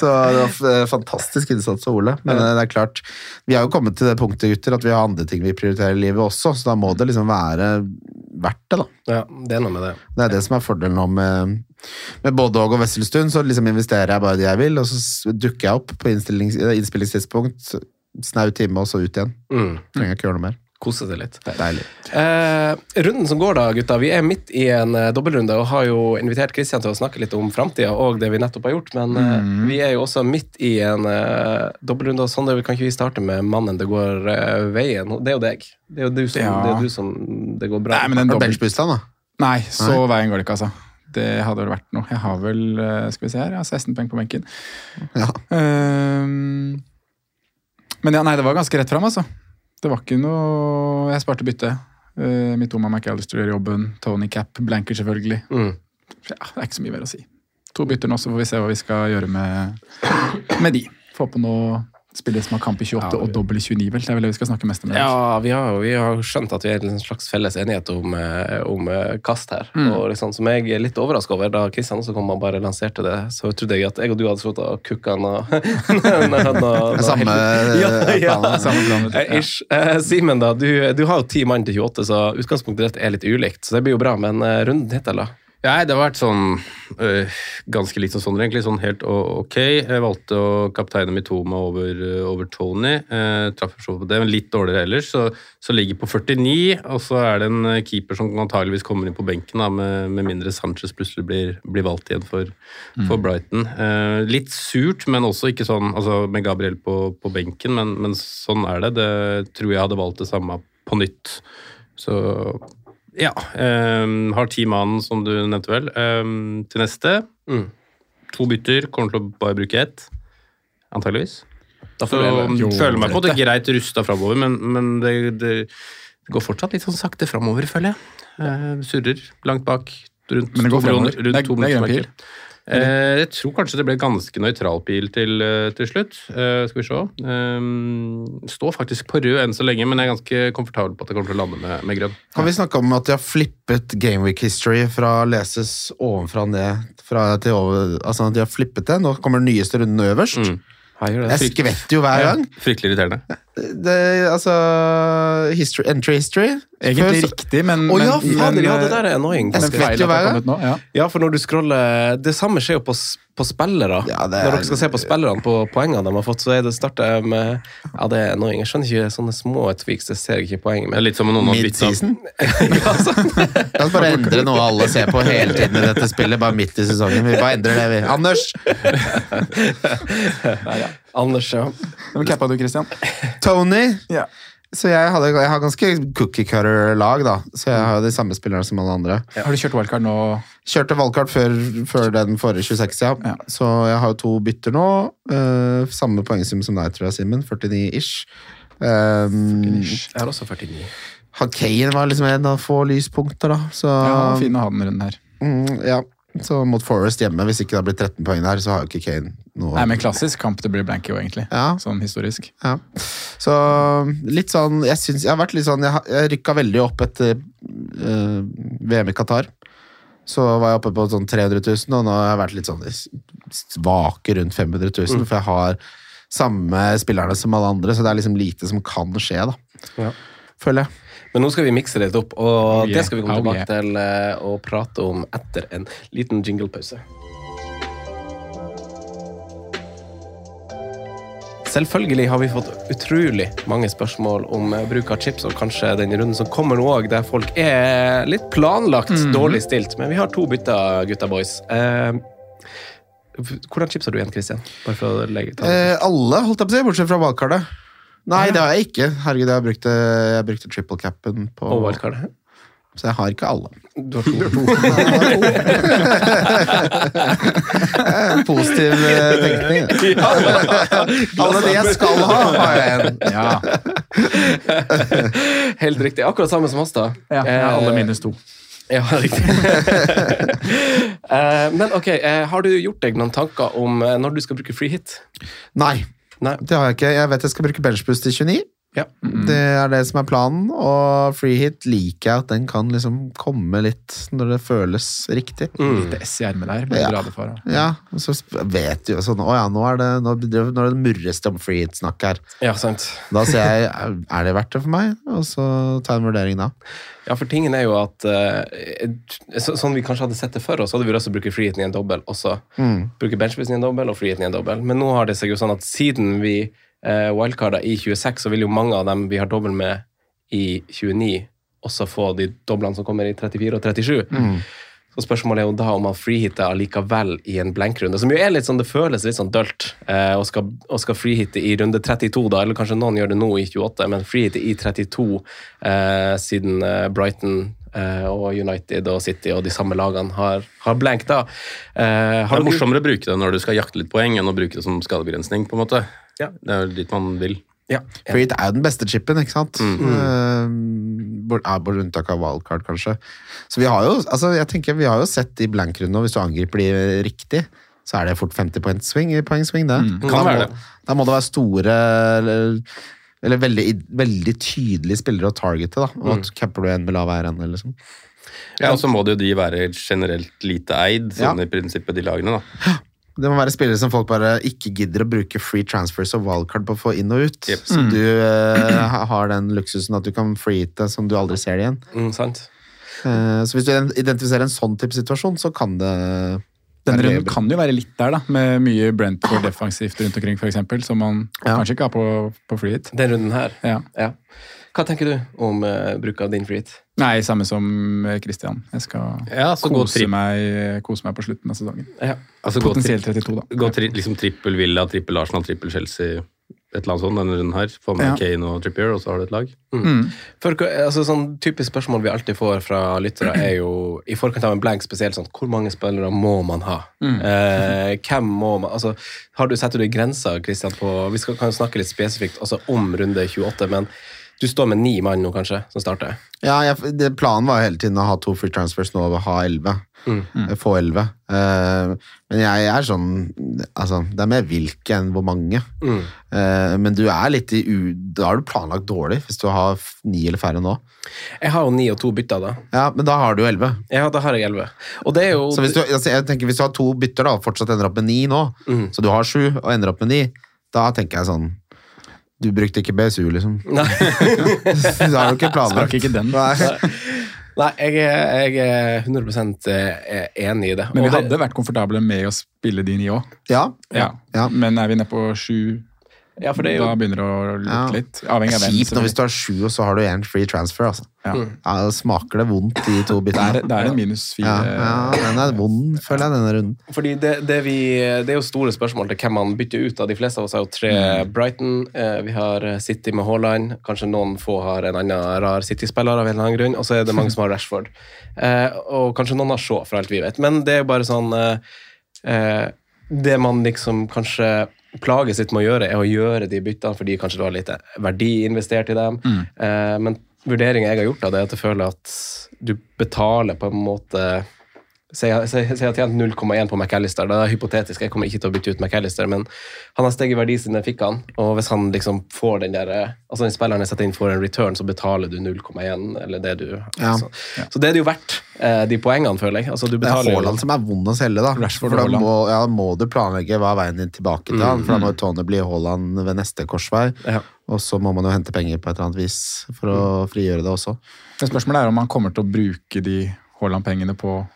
Speaker 3: Så det var f- eh, fantastisk innsats av Ole. Men eh, det er klart, vi har jo kommet til det punktet, gutter, at vi har andre ting vi prioriterer i livet også, så da må det liksom være verdt det, da.
Speaker 2: ja, det er noe med det.
Speaker 3: Det er det som er fordelen nå med, med både Åg og Wesselstuen. Så liksom investerer jeg bare det jeg vil, og så s- dukker jeg opp på innstillings- eh, innspillingstidspunkt. Snau time, og så ut igjen.
Speaker 2: Mm.
Speaker 3: Trenger ikke gjøre noe mer.
Speaker 2: Kose seg litt. Eh, runden som går da, gutta. Vi er midt i en eh, dobbeltrunde og har jo invitert Kristian til å snakke litt om framtida og det vi nettopp har gjort, men eh, vi er jo også midt i en eh, dobbeltrunde, og sånn det, kan ikke vi starte med mannen det går eh, veien? Det er jo deg. Det er jo du som,
Speaker 4: Ja.
Speaker 2: det, er du som det går bra
Speaker 4: Nei, men en
Speaker 3: Har du
Speaker 4: dobbelt...
Speaker 3: benchbursdag, da?
Speaker 4: Nei, så veien går det ikke, altså. Det hadde vel vært noe. Jeg har vel eh, skal vi se her, jeg har 16 poeng på benken.
Speaker 3: Ja.
Speaker 4: Ehm, men ja, nei, det var ganske rett fram, altså. Det var ikke noe Jeg sparte bytte. Uh, Mitoma McAllister gjør jobben. Tony Cap, blanker selvfølgelig.
Speaker 2: Mm.
Speaker 4: Ja, det er ikke så mye mer å si. To bytter nå, så får vi se hva vi skal gjøre med, med de. Få på noe spillere som har kamp i 28
Speaker 2: Ja,
Speaker 4: og dobbel i 29, vel. Det er vel det vi skal snakke mest om. i dag.
Speaker 2: Ja, vi har, vi har skjønt at vi er i en slags felles enighet om, eh, om eh, kast her. Og liksom, som jeg er litt overraska over, da Kristian også kom og bare lanserte det, så trodde jeg at jeg og du hadde sluttet å kukke han og når han og-
Speaker 3: Det er samme eh, altså.
Speaker 2: ja, ja.
Speaker 3: planen,
Speaker 4: Samme plan, vet du.
Speaker 2: Eh, Ish. Eh, Simen, da. Du, du har jo ti mann til 28, så utgangspunktet ditt er litt ulikt. Så det blir jo bra, men eh, runden hittil, da?
Speaker 5: Nei, det har vært sånn øh, ganske likt som Sondre, egentlig. Sånn helt o- ok. Jeg valgte å kapteine Mitoma over, øh, over Tony. Eh, traff for så vidt på det, men litt dårligere ellers. Så, så ligger på 49, og så er det en eh, keeper som antageligvis kommer inn på benken, da, med, med mindre Sanchez plutselig blir, blir valgt igjen for, for Brighton. Eh, litt surt, men også ikke sånn altså med Gabriel på, på benken, men, men sånn er det. Det tror jeg hadde valgt det samme på nytt. Så ja. ehm, har ti mann, som du nevnte vel, ehm, til neste.
Speaker 2: Mm.
Speaker 5: To bytter, kommer til å bare bruke ett. Antageligvis.
Speaker 2: Da
Speaker 5: Så um,
Speaker 2: får du leve.
Speaker 4: Jo,
Speaker 5: føler meg på det greit rusta framover, men, men det, det, det går fortsatt litt sånn sakte framover, føler jeg. Eh, surrer langt bak. Rundt
Speaker 4: Men det går
Speaker 5: to
Speaker 4: fremover.
Speaker 5: rundt, rundt
Speaker 4: Det er-
Speaker 5: to
Speaker 4: det er grønn pil.
Speaker 5: minuttsmerker. Eh, jeg tror kanskje det ble ganske nøytral pil til, eh, til slutt. Eh, skal vi se. Ehm, står faktisk på rød enn så lenge, men jeg er ganske komfortabel på at jeg kommer til å lande med, med grønn.
Speaker 3: Kan vi snakke om at de har flippet Gameweek history fra å leses ovenfra og ned fra til over, altså at de har flippet det? Nå kommer den nyeste runden øverst.
Speaker 4: Mm.
Speaker 2: Jeg gjør det.
Speaker 3: Jeg skvetter jo hver gang.
Speaker 5: Fryktelig irriterende.
Speaker 3: Det, altså history, Entry history.
Speaker 4: Egentlig
Speaker 3: Før så-
Speaker 4: riktig, men
Speaker 3: Å, ja,
Speaker 4: men-
Speaker 2: Fader,
Speaker 4: men,
Speaker 2: ja, det der er annoying.
Speaker 3: Jeg
Speaker 4: men
Speaker 3: skvetter
Speaker 4: feil
Speaker 3: jo
Speaker 4: at det
Speaker 3: hver
Speaker 4: har
Speaker 3: gang.
Speaker 4: kommet nå. Ja.
Speaker 2: Ja, for når du scroller Det samme skjer jo på, s- på spillere.
Speaker 3: Ja, det er-
Speaker 2: Når dere skal se på spillerne på poengene de har fått, så er det starter jeg med Ja, det er annoying. Jeg skjønner ikke sånne små tweaks. Jeg ser ikke poenget
Speaker 5: Det
Speaker 2: med.
Speaker 5: er litt som om noen har bytta
Speaker 3: Mid-season? La oss bare endre noe alle ser på hele tiden i dette spillet, bare midt i sesongen. Vi bare endrer det, vi. Anders,
Speaker 2: Anders, ja.
Speaker 4: Hvem cappa du, Christian?
Speaker 3: Tony.
Speaker 4: Ja.
Speaker 3: Så jeg, hadde, jeg har ganske cookie cutter-lag, da. Så jeg har jo de samme spillerne som alle andre.
Speaker 4: Har du kjørt wildcard nå?
Speaker 3: Kjørte valgkart før, før den forrige 26, ja.
Speaker 4: Ja.
Speaker 3: Så jeg har jo to bytter nå. eh, samme poengsum som deg, tror jeg, Simen. 49-ish. Um,
Speaker 2: Jeg har også 49.
Speaker 3: Kane var liksom en av få lyspunkter, da. Så,
Speaker 4: Ja, fin å ha den runden her.
Speaker 3: mm, ja. så mot Forest hjemme, hvis ikke det har blitt 13 poeng der, så har jo ikke Kane noe
Speaker 4: Nei, men klassisk kamp det blir blank i, jo, egentlig.
Speaker 3: Ja.
Speaker 4: Sånn historisk.
Speaker 3: Ja. Så litt sånn Jeg synes, jeg har vært litt sånn Jeg, har- jeg rykka veldig opp etter eh, VM i Qatar. Så var jeg oppe på sånn 300 000, og nå har jeg vært litt sånn s- svake rundt 500 000, for jeg har samme spillerne som alle andre, så det er liksom lite som kan skje, da.
Speaker 2: Ja.
Speaker 3: Føler jeg.
Speaker 2: Men nå skal vi mikse det litt opp, og
Speaker 4: Oh, yeah.
Speaker 2: det skal vi komme
Speaker 4: Oh,
Speaker 2: tilbake
Speaker 4: yeah.
Speaker 2: til eh, og prate om etter en liten jinglepause. Selvfølgelig har vi fått utrolig mange spørsmål om eh, bruk av chips, og kanskje den runden som kommer nå òg, der folk er litt planlagt
Speaker 4: Mhm.
Speaker 2: dårlig stilt. Men vi har to bytter, gutta boys. Eh, hvordan chips har du igjen, Christian? Bare for å legge ta det.
Speaker 3: Eh, alle, holdt jeg på å si, bortsett fra wildcardet. Nei, det har jeg ikke. Herregud, jeg brukte, jeg brukte triple capen på
Speaker 2: Og wildcardet.
Speaker 3: Så jeg har ikke alle.
Speaker 2: Du har to.
Speaker 3: Positiv eh, tenkning. ja. Alle de jeg skal ha, har jeg en.
Speaker 4: Ja,
Speaker 2: Helt riktig. Akkurat samme som oss, da.
Speaker 4: ja jeg har alle
Speaker 2: Eh,
Speaker 4: minus to.
Speaker 2: Ja, riktig. Eh, men ok, eh, har du gjort deg noen tanker om eh, når du skal bruke free hit?
Speaker 3: Nei,
Speaker 2: Nei.
Speaker 3: det har jeg ikke. Jeg vet jeg skal bruke benchboost til 29.
Speaker 2: Ja.
Speaker 3: Det er det som er planen, og free hit liker jeg at den kan liksom komme litt når det føles riktig.
Speaker 2: Mm.
Speaker 4: Lite S i ermet der. Bare
Speaker 3: Ja.
Speaker 4: dra det for. da.
Speaker 3: Ja, og så sp- vet du jo sånn, å ja, nå er det, nå bedriver- nå er det murreste om free hit-snakk her.
Speaker 2: Ja, sant.
Speaker 3: Da sier jeg, er det verdt det for meg? Og så ta en vurdering da.
Speaker 2: Ja, for tingen er jo at eh, så, Sånn vi kanskje hadde sett det før, oss, så hadde vi lyst til å bruke free hiten i en dobbel også. Bruke benchbussen i en dobbel og free hiten i en dobbel. Men nå har eh, det seg jo sånn at siden vi uh, wildcarda i 26, så vil jo mange av dem vi har dobbel med i 29, og så få de doblene som kommer i 34 og 37.
Speaker 5: Mm.
Speaker 2: Så spørsmålet er jo da om han freehitter allikevel i en blank-runde, som jo er litt sånn, det føles litt sånn dølt, eh, og skal, og skal freehitte i runde 32 da, eller kanskje noen gjør det nå i 28, men freehitte i 32 eh, siden eh, Brighton eh, og United og City og de samme lagene har, har blank da. Eh,
Speaker 5: Det
Speaker 2: har
Speaker 5: er
Speaker 2: dere-
Speaker 5: morsommere å bruke det når du skal jakte litt poeng, enn å bruke det som skadebegrensning. på en måte.
Speaker 2: Ja.
Speaker 5: Det er jo dit man vil.
Speaker 2: Ja.
Speaker 3: Preet er jo den beste chipen, ikke sant?
Speaker 5: Mm.
Speaker 3: Eh, bort- er På unntak av wildcard, kanskje. Så vi har jo, altså, jeg tenker, vi har jo sett i blankrundene, og hvis du angriper de riktig, så er det fort 50 poeng swing, poeng swing det.
Speaker 5: Mm. Kan
Speaker 3: da,
Speaker 5: være
Speaker 3: må,
Speaker 5: det.
Speaker 3: da må det være store eller, eller veldig, veldig tydelige spillere å targete, da. Og
Speaker 5: Mm.
Speaker 3: at capper du en med lav æren, eller sånn.
Speaker 5: Ja, Og så må det jo de være generelt lite eid, sånn i prinsippet, de lagene. da.
Speaker 3: Det må være spillere som folk bare ikke gidder å bruke free transfers og wildcard på å få inn og ut.
Speaker 5: Yep.
Speaker 3: Så du eh, har den luksusen at du kan freehite som du aldri ser det igjen.
Speaker 2: Mm, sant?
Speaker 3: Eh, så hvis du identifiserer en sånn type situasjon, så kan det
Speaker 4: Den
Speaker 3: være
Speaker 4: runden
Speaker 3: øyeblikk.
Speaker 4: kan jo være litt der, da, med mye Brentford defensivt rundt omkring, f.eks., som man
Speaker 3: Ja.
Speaker 4: kanskje ikke har på, på free hit.
Speaker 2: Den runden her.
Speaker 4: Ja.
Speaker 2: Ja. Hva tenker du om eh, bruk av din freehit?
Speaker 4: Nei, samme som eh, Christian. Jeg skal
Speaker 5: Ja, så gå
Speaker 4: kose,
Speaker 5: tripp.
Speaker 4: meg, eh, kose meg på slutten av sesongen.
Speaker 2: Ja.
Speaker 5: Altså, gå tri-
Speaker 4: Potensielt 32, da.
Speaker 5: Gå tri liksom trippel Villa, trippel Arsenal, trippel Chelsea, et eller annet sånt denne runden her. Få med
Speaker 4: Ja.
Speaker 5: Kane og Trippier, og så har du et lag.
Speaker 2: For, altså, sånn typisk spørsmål vi alltid får fra lyttere, er jo i forkant av en blank spesielt sånn Hvor mange spillere må man ha?
Speaker 3: Mm.
Speaker 2: Eh, hvem må man altså, har du, Setter du grenser, Christian, på Vi skal, kan jo snakke litt spesifikt altså, om runde 28, men du står med ni mann nå, kanskje, som starter?
Speaker 3: Ja, jeg, det, planen var jo hele tiden å ha to free transfers nå og ha elleve. Eh, Få elleve. Eh, men jeg er sånn altså, Det er mer hvilke enn hvor mange. Eh, men du er litt i u... Da har du planlagt dårlig hvis du har f- ni eller færre nå.
Speaker 2: Jeg har jo ni og to bytter, da.
Speaker 3: Ja, men da har du elleve.
Speaker 2: Ja, da har jeg elleve. Og det er jo
Speaker 3: Så hvis du, altså, jeg tenker, hvis du har to bytter da, og fortsatt ender opp med ni nå, så du har sju og ender opp med ni, da tenker jeg sånn Du brukte ikke BSU, liksom.
Speaker 2: Nei.
Speaker 3: Så da har du ikke planlagt.
Speaker 4: Sprakk ikke den.
Speaker 3: Nei.
Speaker 2: Nei, jeg, er- jeg er 100 eh, enig i det.
Speaker 4: Men vi
Speaker 2: Og det-
Speaker 4: hadde vært komfortable med å spille de ni òg.
Speaker 3: Ja.
Speaker 4: Ja.
Speaker 3: Ja.
Speaker 4: Men er vi nede på sju,
Speaker 2: ja, for det er jo,
Speaker 4: da begynner det å lukte
Speaker 3: Ja.
Speaker 4: litt.
Speaker 3: Det
Speaker 4: Avhengig
Speaker 3: er
Speaker 4: av hvem.
Speaker 3: kjipt når hvis
Speaker 4: selvfølgelig.
Speaker 3: du har sju, og så har du én free transfer. Altså.
Speaker 4: Ja.
Speaker 3: Ja, da smaker det vondt, de to
Speaker 4: Det er,
Speaker 3: byttene.
Speaker 4: det er en minus fire.
Speaker 3: Ja, ja, den er vond, føler jeg, denne runden.
Speaker 2: Fordi det, det, vi, det er jo store spørsmål til hvem man bytter ut av. De fleste av oss har jo tre Brighton, eh, vi har eh, City med Haaland, kanskje noen få har en annen rar City-spiller av en eller annen grunn, og så er det mange som har Rashford. Eh, og kanskje noen har Shaw, for alt vi vet. Men det er jo bare sånn eh, eh, Det man liksom kanskje plages litt med å gjøre, er å gjøre de byttene fordi kanskje det var litt verdi investert i dem. Eh, men vurderingen jeg har gjort av det, er at jeg føler at du betaler på en måte Si jeg si- si jeg har tjent 0,1 på McAllister. Det er hypotetisk, jeg kommer ikke til å bytte ut McAllister, men han har steget i verdi siden jeg fikk han, og hvis han liksom får den der eh, Altså den spilleren jeg setter inn får en return, så betaler du 0,1 eller det du
Speaker 3: Ja.
Speaker 2: så, så det er det jo verdt, eh, de poengene, føler jeg. Altså du
Speaker 3: Det er
Speaker 2: betaler jo-
Speaker 3: Haaland som er vond å selge, da.
Speaker 4: Rashford
Speaker 3: for da
Speaker 4: og Haaland.
Speaker 3: må, ja, må du planlegge hva er veien din tilbake til han, for da må jo Tony bli Haaland ved neste korsvei.
Speaker 2: Mm, Ja. Mm.
Speaker 3: Og så må man jo hente penger på et eller annet vis for å frigjøre det også.
Speaker 4: Men spørsmålet er om man kommer til å bruke de Haaland-pengene på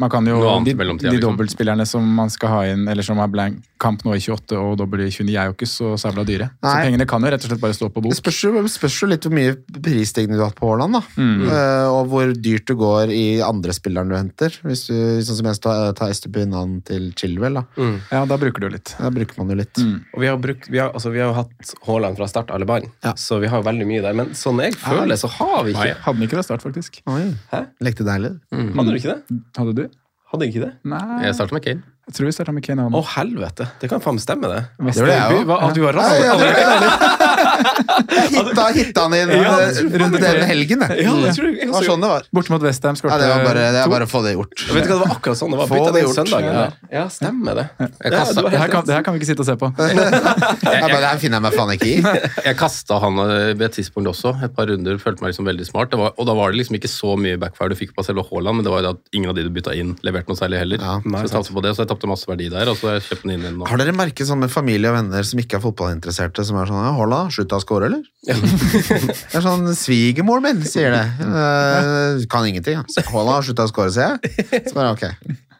Speaker 4: man kan jo,
Speaker 5: Noe annet
Speaker 4: De,
Speaker 5: i mellomtida,
Speaker 4: de
Speaker 5: liksom.
Speaker 4: dobbeltspillerne som man skal ha inn, eller som har blank kamp nå i 28 og dobbel i 29, er jo ikke så sabla dyre. Så
Speaker 3: Nei.
Speaker 4: pengene kan jo rett og slett bare stå
Speaker 3: Det
Speaker 4: på bok.
Speaker 3: spørs jo, det spørs jo litt hvor mye prisstigning du har hatt på Haaland, da.
Speaker 2: Mm.
Speaker 3: Eh, og hvor dyrt du går i andre spilleren du henter. Hvis du, sånn som jeg tar, tar Estupinan til Chilwell, da.
Speaker 2: Mm.
Speaker 4: Ja, da bruker du litt.
Speaker 3: Da bruker man jo litt.
Speaker 2: Og vi har, brukt, vi har, altså, vi har jo hatt Haaland fra start, alle barn,
Speaker 3: Ja.
Speaker 2: så vi har jo veldig mye der. Men sånn jeg føler, så har vi ikke
Speaker 4: Hadde den ikke fra start, faktisk.
Speaker 3: Oi.
Speaker 2: Hæ?
Speaker 3: Lekte deilig.
Speaker 2: Hadde du ikke det?
Speaker 4: Hadde du?
Speaker 2: Hadde jeg ikke det?
Speaker 4: Nei,
Speaker 5: Jeg starter med Kane.
Speaker 4: jeg tror vi starta med Kane
Speaker 2: Å,
Speaker 4: Alma.
Speaker 2: helvete! Det kan faen meg stemme, det.
Speaker 4: Det gjorde jeg
Speaker 2: Du
Speaker 4: også.
Speaker 2: var- At du var
Speaker 3: Nei,
Speaker 2: rask.
Speaker 3: ja, det Hitta, hitta han inn
Speaker 2: Ja,
Speaker 3: eh, rundt den helgen, det.
Speaker 2: Ja, det tror jeg- jeg
Speaker 3: Det
Speaker 2: også
Speaker 3: var sånn det var.
Speaker 4: Borte mot Westham
Speaker 3: Ja,
Speaker 4: skårte
Speaker 3: det var bare, det er bare å få det gjort.
Speaker 2: Vet du hva, Det var akkurat sånn det var.
Speaker 3: Få
Speaker 2: Bytta
Speaker 3: det
Speaker 2: den
Speaker 3: gjort.
Speaker 2: søndagen
Speaker 4: Ja.
Speaker 2: der. Ja, stemmer det.
Speaker 5: Jeg
Speaker 2: Ja,
Speaker 5: kastet-
Speaker 2: du
Speaker 4: Det her, kan, det her kan vi ikke sitte og se på.
Speaker 3: Jeg bare, det her finner jeg meg faen ikke i.
Speaker 5: Jeg kasta han eh, ved et tidspunkt også. Et par runder følte meg liksom veldig smart. Det var, og da var det liksom ikke så mye backfire du fikk på selve Haaland, men det var jo det at ingen av de du bytta inn, leverte noe særlig heller.
Speaker 3: Ja,
Speaker 5: så jeg tapte på det, så jeg tapte masse verdi der, og så har jeg kjøpte den inn igjen nå.
Speaker 3: Har dere merket sånn med familie og venner som ikke er fotballinteresserte, som er sånn ja, 'Haaland, slutta å score, eller?' det er sånn svigermoren min sier det. Eh, kan ingenting. ja. Så, 'Haaland, slutta å score', sier jeg. Så bare ok.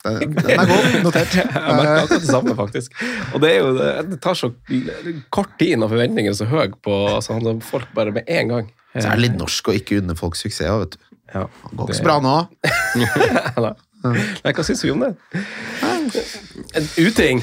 Speaker 3: Den den er god. Notert.
Speaker 2: Jeg merker akkurat det samme, faktisk. Og det, er jo, det tar så kort tid når forventningene er så høye på altså, han- folk bare med en gang.
Speaker 3: Så er det litt norsk å ikke unne folk suksess òg, vet du.
Speaker 2: Ja,
Speaker 3: Det går
Speaker 2: det-
Speaker 3: ikke så bra nå.
Speaker 2: Nei, Nei, hva syns vi om det? En Uting.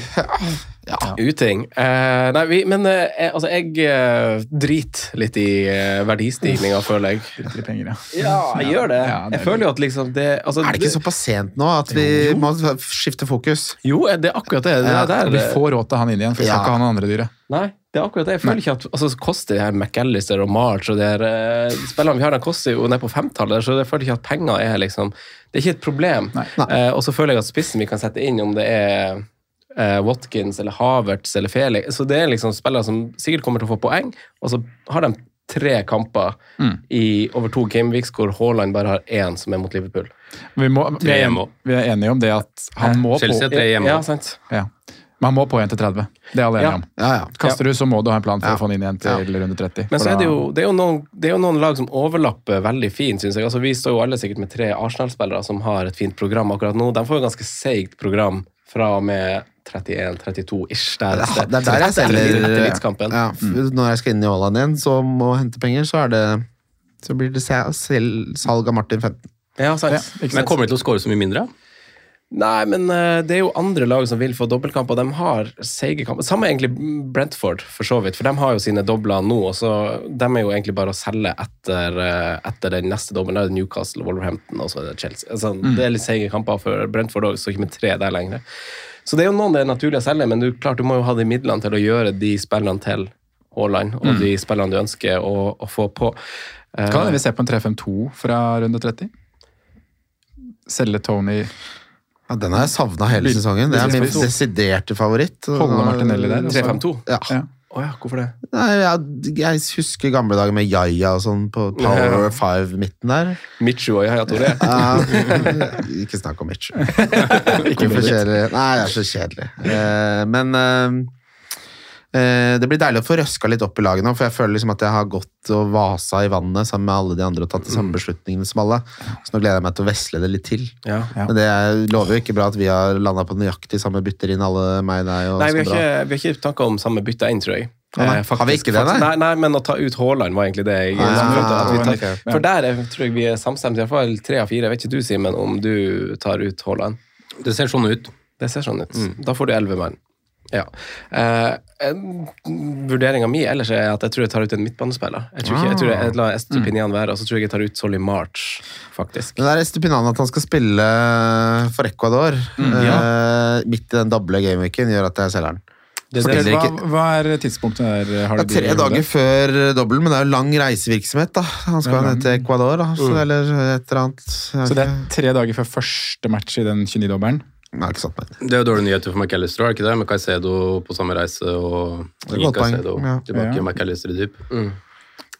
Speaker 2: Uting. Eh, nei, vi, men eh, jeg- altså, jeg eh, driter litt i eh, verdistigninga, føler jeg.
Speaker 4: Etter penger, ja.
Speaker 2: Ja, jeg gjør det.
Speaker 4: Ja, det
Speaker 2: Jeg
Speaker 4: er
Speaker 2: føler jo at liksom det altså,
Speaker 3: Er det ikke såpass sent nå at vi må skifte fokus?
Speaker 2: Jo, eh, det er akkurat det. Det, er der,
Speaker 4: Vi får råd til han inn igjen, for vi skal
Speaker 3: Ja.
Speaker 4: ikke ha noen andre dyre.
Speaker 2: Nei, det er akkurat det. Jeg føler ikke at altså, så koster de her McAllister og March og de her eh, spillene vi har, de koster jo ned på femtallet, så jeg føler ikke at penger er liksom Det er ikke et problem. Eh, og så føler jeg at spissen vi kan sette inn, om det er eh, Watkins eller Havertz eller Felix Så det er liksom spillere som sikkert kommer til å få poeng, og så har de tre kamper
Speaker 5: Mm.
Speaker 2: i over to gameweeks hvor Haaland bare har én som er mot Liverpool.
Speaker 4: Vi, må, vi, er,
Speaker 5: hjemme også.
Speaker 4: vi er enige om det at han må på
Speaker 5: Chelsea er tre hjemme.
Speaker 2: Ja, sant?
Speaker 4: ja. Men han må på 1 til 30. Det er alle enige
Speaker 2: Ja.
Speaker 4: om.
Speaker 3: Ja, ja.
Speaker 4: Kaster du, så må du ha en plan for
Speaker 3: Ja.
Speaker 4: å få han inn igjen til runde 30.
Speaker 2: Men
Speaker 4: for
Speaker 2: så er
Speaker 4: da-
Speaker 2: det, jo, det, er jo noen, det er jo noen lag som overlapper veldig fint, syns jeg. Altså, vi står jo alle sikkert med tre Arsenal-spillere som har et fint program akkurat nå. De får jo ganske seigt program fra og med 31-32-ish. Der,
Speaker 3: Det er der jeg
Speaker 2: etter,
Speaker 3: selger Mm.
Speaker 2: etter, etter Leeds-kampen.
Speaker 3: Ja, f- Når jeg skal inn i Haaland igjen så må jeg hente penger, så, er det, så blir det se- sel- salg av Martin 15.
Speaker 2: Ja, sant.
Speaker 4: Ja, ikke
Speaker 5: Men kommer de til å score så mye mindre?
Speaker 2: Nei, men eh, det er jo andre lag som vil få dobbeltkamp, og de har seige kamper. Samme egentlig Brentford, for så vidt, for de har jo sine dobler nå. og så De er jo egentlig bare å selge etter, eh, etter den neste dobbelen. Da er det Newcastle, Wolverhampton og så er det Chelsea. Altså, Det er litt seige kamper for Brentford òg, så ikke med tre der lenger. Så det er jo noen det er naturlig å selge, men du, klart, du må jo ha de midlene til å gjøre de spillene til Haaland, og de spillene du ønsker å, å få på. Eh,
Speaker 4: Kan hende vi ser på en 3-5-2 fra runde 30? Selge Tony
Speaker 3: Ja, den har jeg savna hele sesongen. Det er min desiderte favoritt.
Speaker 4: Holde Martinelli der. og så-
Speaker 2: 3-5-2.
Speaker 3: Ja.
Speaker 4: Ja.
Speaker 2: Å ja, hvorfor det?
Speaker 3: Nei, jeg, jeg husker gamle dager med Yaya og sånn på Power 5-midten der.
Speaker 2: Michu og Yahya Touré.
Speaker 3: Ja, ikke snakk om Mitch. ikke for kjedelig. Nei, det er så kjedelig. Eh, men eh, eh, det blir deilig å få røska litt opp i laget nå, for jeg føler liksom at jeg har gått og vasa i vannet sammen med alle de andre og tatt de
Speaker 2: Mm.
Speaker 3: samme beslutningene som alle. Så nå gleder jeg meg til å vesle det litt til.
Speaker 2: Ja.
Speaker 3: Men det er- lover jo ikke bra at vi har landa på nøyaktig samme bytter inn, alle meg, deg og
Speaker 2: Nei, vi har,
Speaker 3: Sondre.
Speaker 2: ikke, vi har ikke tanker om samme bytte inn, tror jeg.
Speaker 3: Å, nei.
Speaker 2: Eh,
Speaker 3: Har vi ikke det,
Speaker 2: faktisk- nei?
Speaker 3: nei?
Speaker 2: Nei, men å ta ut Haaland var egentlig det jeg
Speaker 3: Ah,
Speaker 2: følte at vi tar-
Speaker 3: ok.
Speaker 2: For der er, tror jeg vi er samstemt, i hvert fall tre av fire. Jeg vet ikke du, Simen, om du tar ut Haaland.
Speaker 5: Det ser sånn ut.
Speaker 2: Det ser sånn ut. Da får du elleve mann. Ja. Eh, Vurderinga mi ellers er at jeg tror jeg tar ut en midtbanespiller. Jeg tror, ikke, jeg tror jeg, jeg lar Estupinian være, og så tror jeg jeg tar ut Solly March, faktisk.
Speaker 3: Men det er Estupinan at han skal spille for Ecuador
Speaker 2: Mm,
Speaker 3: eh, midt i den doble gameweeken, gjør at jeg selger den.
Speaker 2: Det,
Speaker 3: Spiller
Speaker 2: det,
Speaker 4: Hva,
Speaker 3: ikke-
Speaker 4: hva er tidspunktet der? Har
Speaker 3: Det er
Speaker 4: de
Speaker 3: tre
Speaker 4: bilder i
Speaker 3: dager
Speaker 4: hodet?
Speaker 3: før dobbelen, men det er jo lang reisevirksomhet. da. Han skal jo ned til Ecuador, da. Så, eller et eller annet. Jeg har
Speaker 4: Så det er
Speaker 3: ikke-
Speaker 4: tre dager før første match i den 29-dobbelen.
Speaker 3: Jeg har ikke satt meg inn.
Speaker 5: Det er jo dårlige nyheter for McAllister, er det ikke det? Med Caicedo på samme reise og
Speaker 3: er et
Speaker 5: ingen
Speaker 3: godt poeng,
Speaker 5: Caicedo
Speaker 3: ja.
Speaker 5: tilbake.
Speaker 4: Ja.
Speaker 5: McAllister i dyp.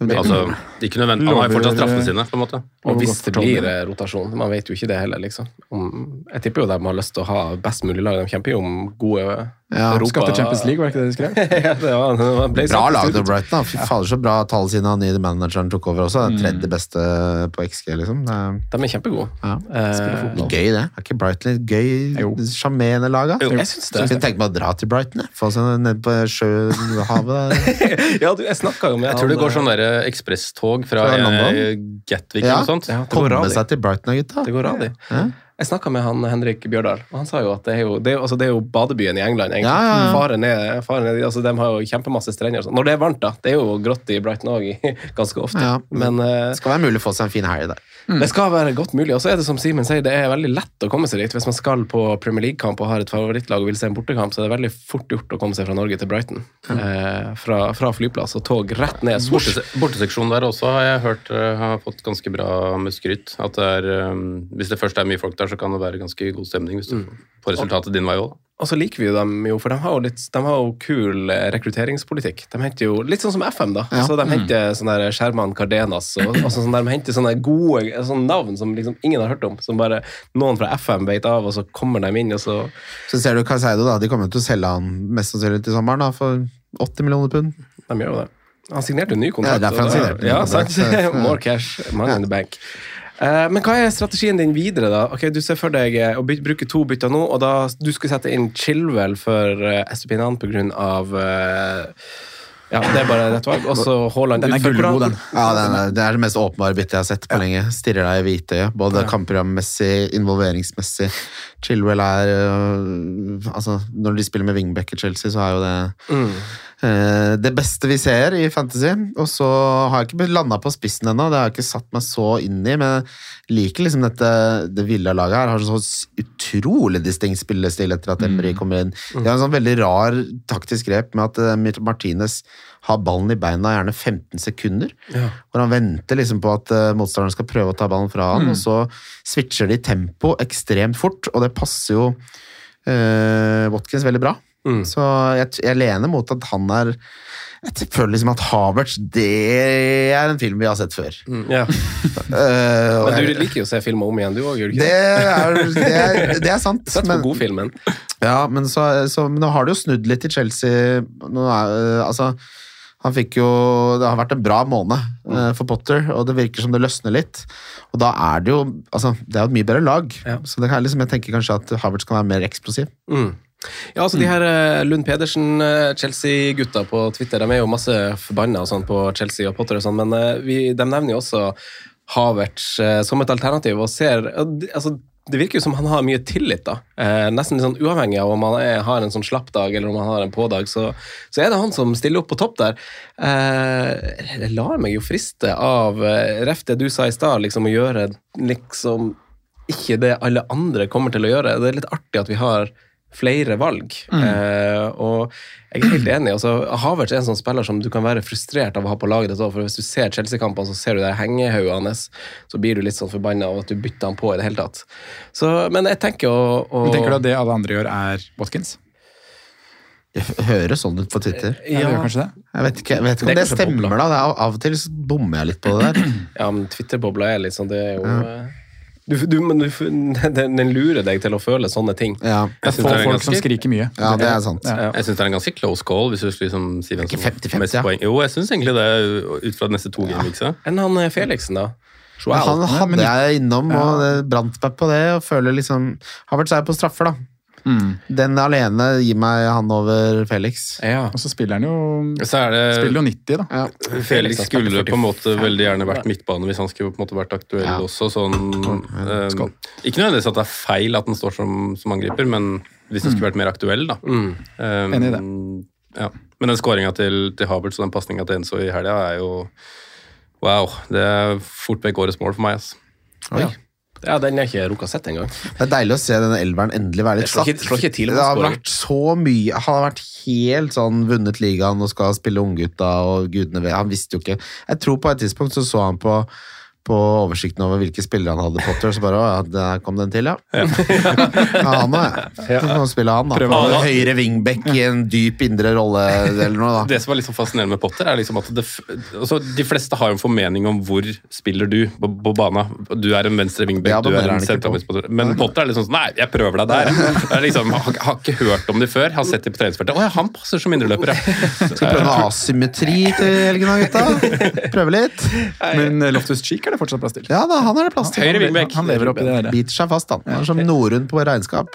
Speaker 3: Men det-
Speaker 5: Altså, ikke nødvendig. Han har jo fortsatt
Speaker 4: Lover-
Speaker 5: straffene sine, på en måte.
Speaker 2: Og hvis
Speaker 4: Overgått
Speaker 2: det
Speaker 4: for Tony.
Speaker 2: blir eh, rotasjon. Man vet jo ikke det heller, liksom. Om, jeg tipper jo de har lyst til å ha best mulig lag. De kjemper jo om gode
Speaker 3: Ja,
Speaker 2: Europa.
Speaker 4: Skal til Champions League, var det ikke det de skrev?
Speaker 2: ja, det var, det var ble
Speaker 3: Bra
Speaker 2: sagt.
Speaker 3: lag til Brighton. da. Fy fader, så bra tall siden han nye manageren tok over også. Den tredje beste på XG, liksom. Det
Speaker 2: De
Speaker 3: er
Speaker 2: er kjempegode. Eh,
Speaker 3: gøy, det. Er ikke Brighton litt gøy, sjarmerende lag? da?
Speaker 2: Jo, jeg synes det.
Speaker 3: Jeg kunne tenke meg å dra til Brighton, jeg. Få seg ned på sjøen, havet der.
Speaker 2: ja, du, jeg snakka jo med
Speaker 5: Jeg tror det
Speaker 2: han,
Speaker 5: går
Speaker 2: eh,
Speaker 5: sånn der ekspresstog fra
Speaker 3: Fra London?
Speaker 5: eh, Gatwick
Speaker 3: Ja.
Speaker 5: eller noe sånt.
Speaker 2: ja, det går
Speaker 3: Komme
Speaker 2: rad i.
Speaker 3: seg til Brighton, da, gutta.
Speaker 2: Det går rad i. Jeg snakka med han Henrik Bjørdal, og han sa jo at det er jo, det er jo, altså, det er jo badebyen i England. egentlig.
Speaker 3: Ja, ja, ja.
Speaker 2: Faren er, faren er, altså, de har jo kjempemasse strender. og sånn. Når det er varmt, da. Det er jo grått i Brighton òg ganske ofte.
Speaker 3: Ja.
Speaker 2: Men eh,
Speaker 3: Det skal være mulig å få seg en fin helg der.
Speaker 2: Det skal være godt mulig. Og så er det som Simen sier, det er veldig lett å komme seg dit. Hvis man skal på Premier League-kamp og har et favorittlag og vil se en bortekamp, så er det veldig fort gjort å komme seg fra Norge til Brighton. Eh, fra, fra flyplass og tog rett ned. Swoosh.
Speaker 5: Bortese- Borteseksjonen der også har jeg hørt eh, har fått ganske bra med skryt. At det er, eh, hvis det først er mye folk der, så kan det være ganske god stemning hvis du
Speaker 3: Mm.
Speaker 5: får resultatet din vei òg.
Speaker 2: Og så liker vi jo dem jo, for de har jo, litt, de har jo kul eh, rekrutteringspolitikk. De henter jo Litt sånn som FM, da. Så de henter sånne der Sherman Cardenas og, og sånn der, de henter sånne gode sånne navn som liksom ingen har hørt om. Som bare noen fra FM beit av, og så kommer de inn, og så
Speaker 3: Så ser du Caseido, da. De kommer jo til å selge han mest sannsynlig til sommeren da, for 80 millioner pund.
Speaker 2: De gjør jo det. Han signerte jo ny kontrakt.
Speaker 3: Ja,
Speaker 2: og
Speaker 3: derfor han
Speaker 2: det-
Speaker 3: signerte ny
Speaker 2: ja,
Speaker 3: kontrakt,
Speaker 2: sant?
Speaker 3: så-
Speaker 2: More cash, money in the bank. Eh, Men hva er strategien din videre, da? Ok, Du ser for deg eh, å byt- bruke to bytter nå, og eh, da du skulle sette inn Chilwell for Estupinan pga. eh, Ja, det er bare rett valg. Og så Haaland
Speaker 3: Den er
Speaker 2: utenfor
Speaker 3: gullgod,
Speaker 2: planen.
Speaker 3: den. Ja, den er, det er det mest åpenbare byttet jeg har sett på lenge. Stirrer deg i hvitøyet, både kampprogrammessig, involveringsmessig. Chilwell er øh, Altså, når de spiller med wingback i Chelsea, så er jo det øh, det beste vi ser i Fantasy. Og så har jeg ikke landa på spissen ennå, det har jeg ikke satt meg så inn i, men jeg liker liksom dette det Villa-laget her. Har så s- utrolig distinkt spillestil etter at Emry kommer inn. De har en sånn veldig rar taktisk grep med at eh, Martinez har ballen i beina gjerne 15 sekunder. Hvor han venter liksom på at eh, motstanderen skal prøve å ta ballen fra han, og så switcher de tempo ekstremt fort, og det passer jo eh, Watkins veldig bra. Så jeg, t- jeg lener mot at han er Jeg t- føler liksom at Havertz, det er en film vi har sett før.
Speaker 2: Ja.
Speaker 3: Eh, og
Speaker 2: Men
Speaker 3: jeg-
Speaker 2: du liker jo å se filmer om igjen, du òg, gjør du ikke
Speaker 3: det er, det, er, det er sant.
Speaker 2: Du setter
Speaker 3: men-
Speaker 2: på godfilmen.
Speaker 3: ja, men så, så men nå har det jo snudd litt i Chelsea. Nå er, øh, altså, han fikk jo Det har vært en bra måned
Speaker 2: Mm.
Speaker 3: øh, for Potter, og det virker som det løsner litt. Og da er det jo altså, Det er jo et mye bedre lag,
Speaker 2: Ja.
Speaker 3: så det er liksom, jeg tenker kanskje at Havertz kan være mer eksplosiv.
Speaker 2: Ja, altså de her eh, Lund Pedersen, eh, Chelsea-gutta på Twitter, de er jo masse forbanna og sånn på Chelsea og Potter og sånn, men eh, vi, de nevner jo også Havertz eh, som et alternativ og ser ja, de- altså, Det virker jo som han har mye tillit, da. Eh, nesten litt sånn uavhengig av om han er, har en sånn slapp dag eller om han har en pådag, så, så er det han som stiller opp på topp der. Eh, jeg lar meg jo friste av eh, ref det du sa i stad, liksom å gjøre liksom ikke det alle andre kommer til å gjøre. Det er litt artig at vi har flere valg.
Speaker 4: Mm.
Speaker 2: Eh, og jeg er helt enig. Altså, Havertz er en sånn spiller som du kan være frustrert av å ha på laget ditt. også, For hvis du ser Chelsea-kampene, så ser du det hengehauget hans. Så blir du litt sånn forbanna av at du bytter han på i det hele tatt. Så, men jeg tenker å, å
Speaker 4: Men Tenker du at det alle andre gjør, er Watkins?
Speaker 3: Det f- høres sånn ut på Twitter.
Speaker 4: Ja.
Speaker 2: Eh, Ja.
Speaker 4: Det gjør kanskje det?
Speaker 3: Jeg vet ikke, jeg vet
Speaker 2: Det
Speaker 3: ikke om
Speaker 2: er
Speaker 3: det,
Speaker 2: kanskje
Speaker 3: stemmer,
Speaker 2: bobla.
Speaker 3: da. Det er, av og til så bommer jeg litt på det der.
Speaker 2: Ja, men Twitter-bobla er litt sånn Det er jo eh, du, du, men du, den, den lurer deg til å føle sånne ting.
Speaker 3: Ja,
Speaker 4: Det
Speaker 5: Jeg
Speaker 4: er
Speaker 5: synes
Speaker 4: få
Speaker 5: det er
Speaker 4: folk som
Speaker 5: ganske-
Speaker 4: skriker mye.
Speaker 3: ja det er sant.
Speaker 4: Ja.
Speaker 5: Jeg syns det er en ganske close call. hvis du skulle liksom si hvem
Speaker 3: Ikke
Speaker 5: som
Speaker 3: 50-50,
Speaker 5: mest
Speaker 3: ja.
Speaker 5: poeng. Jo, jeg syns egentlig det, ut fra de neste to gameweeksa.
Speaker 2: Enn han eh, Felixen, da?
Speaker 3: Men
Speaker 2: Joao.
Speaker 3: han
Speaker 4: men-
Speaker 3: hadde jeg innom, og det brant meg på det. og føler liksom, Havertz er jo på straffer, da. Den alene gir meg han over Felix.
Speaker 2: Ja.
Speaker 4: Og så spiller han jo,
Speaker 5: Så er
Speaker 4: spiller
Speaker 5: det
Speaker 4: jo 90, da.
Speaker 5: Felix skulle på en måte veldig gjerne vært
Speaker 2: Nei.
Speaker 5: midtbane hvis han skulle på en måte vært aktuell
Speaker 3: Ja.
Speaker 5: også. Sånn, eh,
Speaker 4: Skål.
Speaker 5: ikke nødvendigvis at det er feil at han står som, som angriper, men hvis han skulle vært mer aktuell, da. Eh,
Speaker 4: Enig i det.
Speaker 5: Ja. Men den skåringa til, til Havertz og den pasninga til Enzo i helga er jo Wow. Det er fort vekk årets mål for meg. ass.
Speaker 3: Oi.
Speaker 2: Ja. Ja, den har jeg ikke rukket å sette engang.
Speaker 3: Det er deilig å se denne elveren endelig være litt
Speaker 2: Det slår ikke- slår ikke til om
Speaker 3: det har
Speaker 2: skåring.
Speaker 3: vært så mye Han har vært helt sånn vunnet ligaen og skal spille unggutta og gudene vet Han visste jo ikke Jeg tror på et tidspunkt så så han på på oversikten over hvilke spillere han hadde fått, og så bare Å, ja, der kom den til, ja. Ja, han òg, ja. Så kan spille han, da.
Speaker 5: han, da.
Speaker 3: Høyre wingback i en dyp indre rolle eller noe, da.
Speaker 5: Det som er liksom fascinerende med Potter, er liksom at det, f- altså, de fleste har jo en formening om hvor spiller du på, på bana. Du er en venstre wingback,
Speaker 3: Ja, da
Speaker 5: du er
Speaker 3: mener han
Speaker 5: en
Speaker 3: ikke
Speaker 5: sentralmidtspiller. Men Potter er liksom sånn Nei, jeg prøver deg der. Jeg er liksom, har, har ikke hørt om det før. Har sett det på treningsfeltet. Å ja, han passer som indreløper, ja.
Speaker 3: Skal prøve noe asymmetri til helgen, da, gutta. Prøve litt.
Speaker 4: Men eh, Loftus Cheek er det fortsatt plass til.
Speaker 3: Ja da, han er det plass til.
Speaker 5: Høyre wingback.
Speaker 4: Han lever opp i det der.
Speaker 3: Biter seg fast, han. Han er som Norun på regnskap.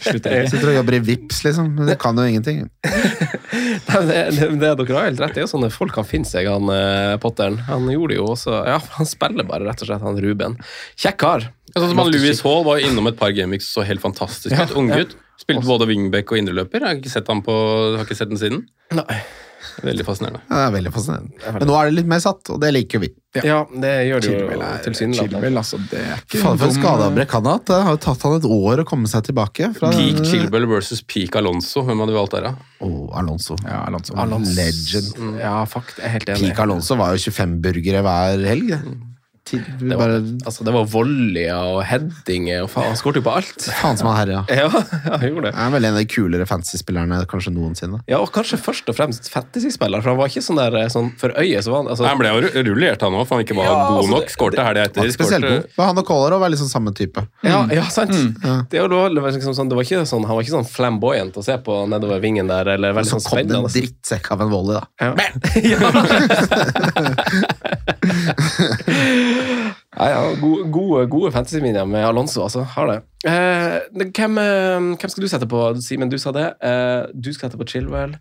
Speaker 4: Slutter.
Speaker 3: Sitter og jobber i VIPs, liksom. Men det kan jo ingenting.
Speaker 2: Nei, det, det, det dere har helt rett. Det er jo sånne folk han finner seg, han eh, Potteren. Han gjorde jo også Ja, han spiller bare, rett og slett, han Ruben. Kjekk kar.
Speaker 5: Sånn som han Louis Hall var jo innom et par gameweeks så helt fantastisk ut. Unggutt. Spilte både wingback og indreløper. Jeg har ikke sett han på, har ikke sett den siden.
Speaker 2: Nei.
Speaker 5: Veldig fascinerende.
Speaker 3: Ja, det er veldig fascinerende. Men nå er det litt mer satt, og det liker vi.
Speaker 2: Ja. det gjør det jo
Speaker 4: Chilwell er-
Speaker 2: tilsynelatende.
Speaker 4: Chilwell, altså, det er ikke
Speaker 3: Faen for en
Speaker 4: dum-
Speaker 3: skadeavbrekk han har hatt. Det har jo tatt han et år å komme seg tilbake. Fra
Speaker 5: Peak Chilwell versus peak Alonso. Hvem hadde vi valgt der, da?
Speaker 3: Åh, Alonso.
Speaker 4: Ja, Alonso.
Speaker 3: Legend.
Speaker 2: Ja, fakt, jeg er helt enig.
Speaker 3: Peak Alonso var jo 25 burgere hver helg. det. Tid-
Speaker 2: Det var,
Speaker 3: Bare
Speaker 2: altså, det var volleyer og headinger og faen, han skåret jo på alt.
Speaker 3: faen som han herja.
Speaker 2: Ja, han gjorde det.
Speaker 3: Han er vel en av de kulere fantasy-spillerne kanskje noensinne.
Speaker 2: Ja, og kanskje først og fremst fantasy-spiller, for han var ikke sånn der eh, sånn for øyet. Så var han, altså,
Speaker 5: Nei, Han ble jo ru- rullert, han òg, for han ikke var
Speaker 2: Ja,
Speaker 5: god
Speaker 2: altså,
Speaker 5: nok.
Speaker 2: det-
Speaker 5: Skårte helga
Speaker 3: Han
Speaker 5: etter.
Speaker 3: er spesielt
Speaker 5: skårte-
Speaker 3: god. Mm. Men han og Kolarov er liksom samme type.
Speaker 2: Ja, Mm. ja, sant. Det var, det var liksom sånn, det var ikke sånn, han var ikke sånn flamboyant å se på nedover vingen der. Eller veldig
Speaker 3: Så
Speaker 2: sånn
Speaker 3: Liksom kom det en
Speaker 2: spennende.
Speaker 3: drittsekk av en volley, da.
Speaker 2: Ja. ja, ja, gode, gode, gode fantasyminner med Alonso, altså. Har det. Eh, hvem, eh, hvem skal du sette på, Simen? Du sa det. Eh, du skal sette på Chilwell.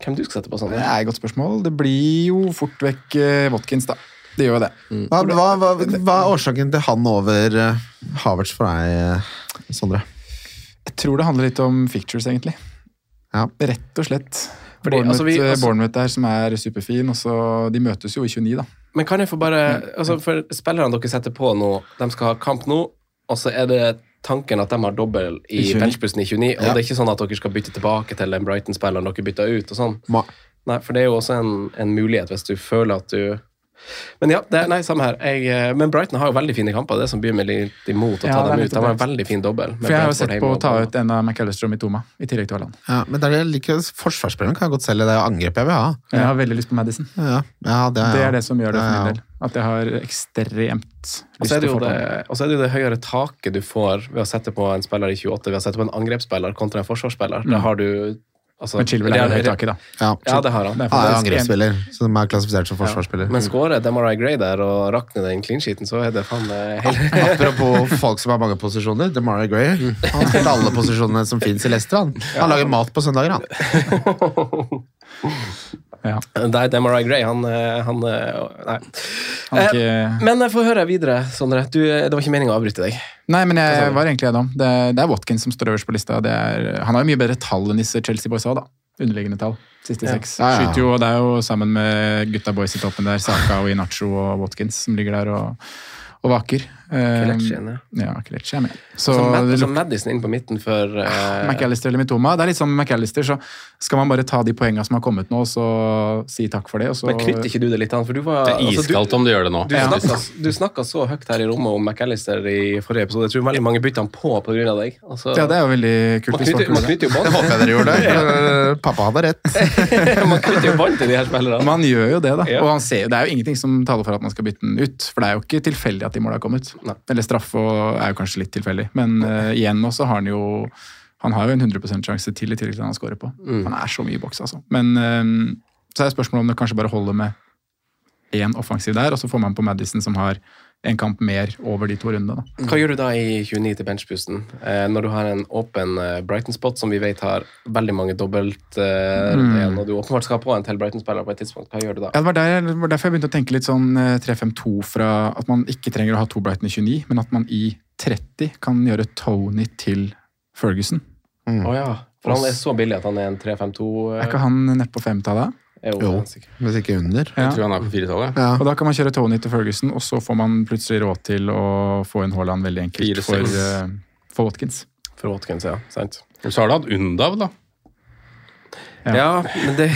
Speaker 2: Hvem du skal sette på,
Speaker 4: Det
Speaker 2: Sondre?
Speaker 4: er et godt spørsmål. Det blir jo fort vekk eh, Watkins, da. Det gjør jo det.
Speaker 3: Hva, hva, hva, hva er årsaken til han over eh, Havertz for deg, eh, Sondre?
Speaker 4: Jeg tror det handler litt om fictures, egentlig.
Speaker 3: Ja.
Speaker 4: Rett og slett.
Speaker 2: Fordi,
Speaker 4: Bournemouth, eh,
Speaker 2: altså, vi- altså-
Speaker 4: Bournemouth der, som er superfin. Og så, de møtes jo i 29, da.
Speaker 2: Men kan jeg få bare altså For spillerne dere setter på nå, de skal ha kamp nå, og så er det tanken at de har dobbel i
Speaker 4: I 29.
Speaker 2: benchbussen i 29, og
Speaker 3: Ja.
Speaker 2: det er ikke sånn at dere skal bytte tilbake til den Brighton-spilleren dere bytta ut og sånn.
Speaker 3: Ma-
Speaker 2: Nei, for det er jo også en, en mulighet hvis du føler at du men ja, det, nei, samme her. Jeg, eh, men Brighton har jo veldig fine kamper. Det er som byr meg litt imot å ta
Speaker 4: Ja, det er
Speaker 2: dem ut.
Speaker 4: nettopp
Speaker 2: De har en
Speaker 4: det.
Speaker 2: veldig fin dobbel. med
Speaker 4: For jeg har jo
Speaker 2: Brentford
Speaker 4: sett
Speaker 2: hjemme
Speaker 4: på å
Speaker 2: og
Speaker 4: ta
Speaker 2: Bournemouth.
Speaker 4: ut en av McAllister og Mitoma, i tillegg til Haaland.
Speaker 3: Ja, men det er det jeg liker. Forsvarsspilleren kan jeg godt selge. Det er jo angrep jeg vil ha.
Speaker 4: Jeg har veldig lyst på Madison.
Speaker 3: Ja, ja, det,
Speaker 4: Det er det som gjør det
Speaker 3: Ja,
Speaker 4: for
Speaker 3: ja.
Speaker 4: min del. At jeg har ekstremt
Speaker 2: Og så er
Speaker 4: lyst
Speaker 2: det
Speaker 4: til
Speaker 2: jo
Speaker 4: å få
Speaker 2: det,
Speaker 4: det.
Speaker 2: og så er det jo det høyere taket du får ved å sette på en spiller i 28, ved å sette på en angrepsspiller kontra en forsvarsspiller. Da har du altså,
Speaker 4: Mm. Men Chilwell er
Speaker 2: Real-
Speaker 4: jo høyt tak i, da.
Speaker 3: Ja.
Speaker 2: Ja, det har han. Ah,
Speaker 4: Det er
Speaker 3: Han er jo
Speaker 4: faktisk en-
Speaker 3: angrepsspiller, som er klassifisert som forsvarsspiller.
Speaker 2: Men skårer Demarai Gray der og rakner den clean sheeten, så er det faen meg hele
Speaker 3: Apropos folk som har mange posisjoner. Demarai Gray. Han har spilt alle posisjonene som fins i Leicester. Han, han lager mat på søndager, han.
Speaker 4: Ja.
Speaker 2: Nei, Demarai Gray, han, eh, han eh, Nei.
Speaker 4: Han
Speaker 2: Eh,
Speaker 4: er ikke...
Speaker 2: Men jeg får høre videre, Sondre. Du, eh, det var ikke meningen å avbryte deg.
Speaker 4: Nei, men
Speaker 2: Hva sa
Speaker 4: jeg
Speaker 2: du?
Speaker 4: var egentlig gjennom. Det, det er Watkins som står øverst på lista. Det er, han har jo mye bedre tall enn disse Chelsea Boys òg, da. Underliggende tall. Siste seks.
Speaker 3: Ja, ja.
Speaker 4: Skyter jo, og det er jo sammen med gutta boys i toppen der, Saka og Inacho og Watkins, som ligger der og, og vaker. Eh,
Speaker 2: Kelechi igjen,
Speaker 4: ja, Kelechi er med. Så,
Speaker 2: Så, Mad
Speaker 4: det Ah,
Speaker 2: så
Speaker 4: lukter
Speaker 2: altså, Madison inn på midten for eh,
Speaker 4: McAllister eller Mitoma. Det er litt sånn med McAllister, så skal man bare ta de poengene som har kommet nå, og så si takk for det, og så
Speaker 2: Men knytter ikke du det litt an? For du var
Speaker 5: Det er
Speaker 2: altså, du-
Speaker 5: iskaldt om du gjør det nå.
Speaker 2: Du snakka, du snakka så høyt her i rommet om McAllister i forrige episode. Jeg tror veldig mange bytta han på pga. deg. Altså,
Speaker 4: Ja, det er jo veldig kult.
Speaker 2: man
Speaker 4: hvis folk
Speaker 2: knytter, man knytter jo
Speaker 4: gjorde det.
Speaker 2: bånd
Speaker 3: Håper jeg dere gjorde det. Eh, Pappa hadde rett.
Speaker 2: Man knytter jo bånd til de her spillerne.
Speaker 4: Man gjør jo det, da.
Speaker 2: Ja.
Speaker 4: Og han ser, det er jo ingenting som taler for at man skal bytte den ut. For det er jo ikke tilfeldig at de måla har kommet.
Speaker 2: Nei.
Speaker 4: Eller straffe og- er jo kanskje litt tilfeldig. Men eh, igjen nå så har han jo han har jo en 100 sjanse til i tillegg til den han scorer på.
Speaker 2: Mm.
Speaker 4: Han er så mye i boks, altså. Men eh, så er spørsmålet om det kanskje bare holder med én offensiv der, og så får man på Madison som har en kamp mer over de to rundene. da.
Speaker 2: Hva gjør du da i 29 til benchpusten, eh, når du har en åpen eh, Brighton-spot som vi vet har veldig mange dobbelt eh, igjen, og du åpenbart skal ha på en til Brighton-spiller på et tidspunkt? Hva gjør du da?
Speaker 4: Ja, det var, der, det var derfor jeg begynte å tenke litt sånn eh, 3-5-2 fra at man ikke trenger å ha to Brighton i 29, men at man i 30 kan gjøre Tony til Ferguson.
Speaker 2: Å ja. For han er så billig at han er en 3-5-2 eh,
Speaker 4: Er ikke han nedpå femtallet?
Speaker 2: er jo
Speaker 3: Jo,
Speaker 2: sikkert.
Speaker 3: hvis ikke under.
Speaker 5: Jeg tror han er på firetallet.
Speaker 3: Ja.
Speaker 4: Og da kan man kjøre Tony til Ferguson, og så får man plutselig råd til å få inn Haaland veldig enkelt
Speaker 5: Fire,
Speaker 4: for,
Speaker 5: seks.
Speaker 4: eh, for Watkins.
Speaker 2: For Watkins, ja. Sant.
Speaker 5: Så har du hatt Undav, da.
Speaker 4: Ja.
Speaker 2: Ja, men det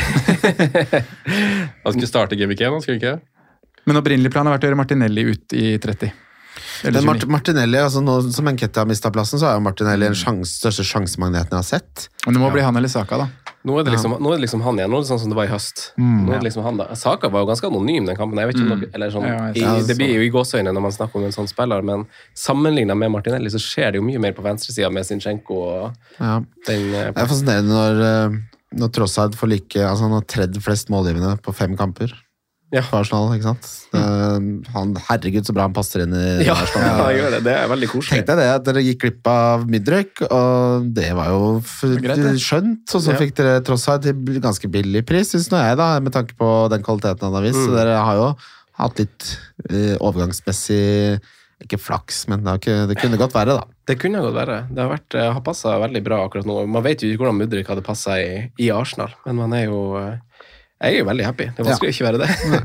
Speaker 5: Han skulle starte Gameweek 1, han skulle ikke det?
Speaker 4: Men opprinnelig planen har vært å gjøre Martinelli ut i 30. Eller
Speaker 3: Men
Speaker 4: 29.
Speaker 3: Mart Martinelli, altså nå som Enkete har mista plassen, så er jo Martinelli den sjans, største sjansemagneten jeg har sett.
Speaker 4: Men det må bli han eller Saka, da.
Speaker 2: Nå er, det liksom, nå er det liksom han igjen. Nå er det sånn som det var i høst. nå er det liksom han da. Saka var jo ganske anonym, den kampen. Jeg vet ikke om dere, eller sånn,
Speaker 4: Ja, jeg
Speaker 2: i,
Speaker 4: ser det.
Speaker 2: det blir jo i gåseøyne når man snakker om en sånn spiller, men sammenlignet med Martinelli så skjer det jo mye mer på venstresida med Zinchenko og
Speaker 3: Ja.
Speaker 2: den eh,
Speaker 3: Det er fascinerende når, eh, når Trossard får like Altså han har tredd flest målgivende på fem kamper.
Speaker 2: Ja.
Speaker 3: For Arsenal, ikke sant? Det, han, herregud, så bra han passer inn i
Speaker 2: Ja,
Speaker 3: Arsenal.
Speaker 2: han gjør det. Det er veldig
Speaker 3: Tenk
Speaker 2: koselig.
Speaker 3: deg det, at dere gikk glipp av Midrøk, og det var jo f
Speaker 4: greit, det.
Speaker 3: skjønt. Og så
Speaker 2: Ja.
Speaker 3: fikk dere tross alt til ganske billig pris, syns nå jeg, da, med tanke på den kvaliteten han har
Speaker 2: Mm.
Speaker 3: vist. Så dere har jo hatt litt eh, overgangsmessig Ikke flaks, men det, har ikke, det kunne godt være, da.
Speaker 2: Det kunne godt være. Det har, vært, eh, har passa veldig bra akkurat nå. Man vet jo ikke hvordan Mudrik hadde passa i, i Arsenal, men man er jo eh, jeg er jo veldig happy. Det er vanskelig å ikke være det.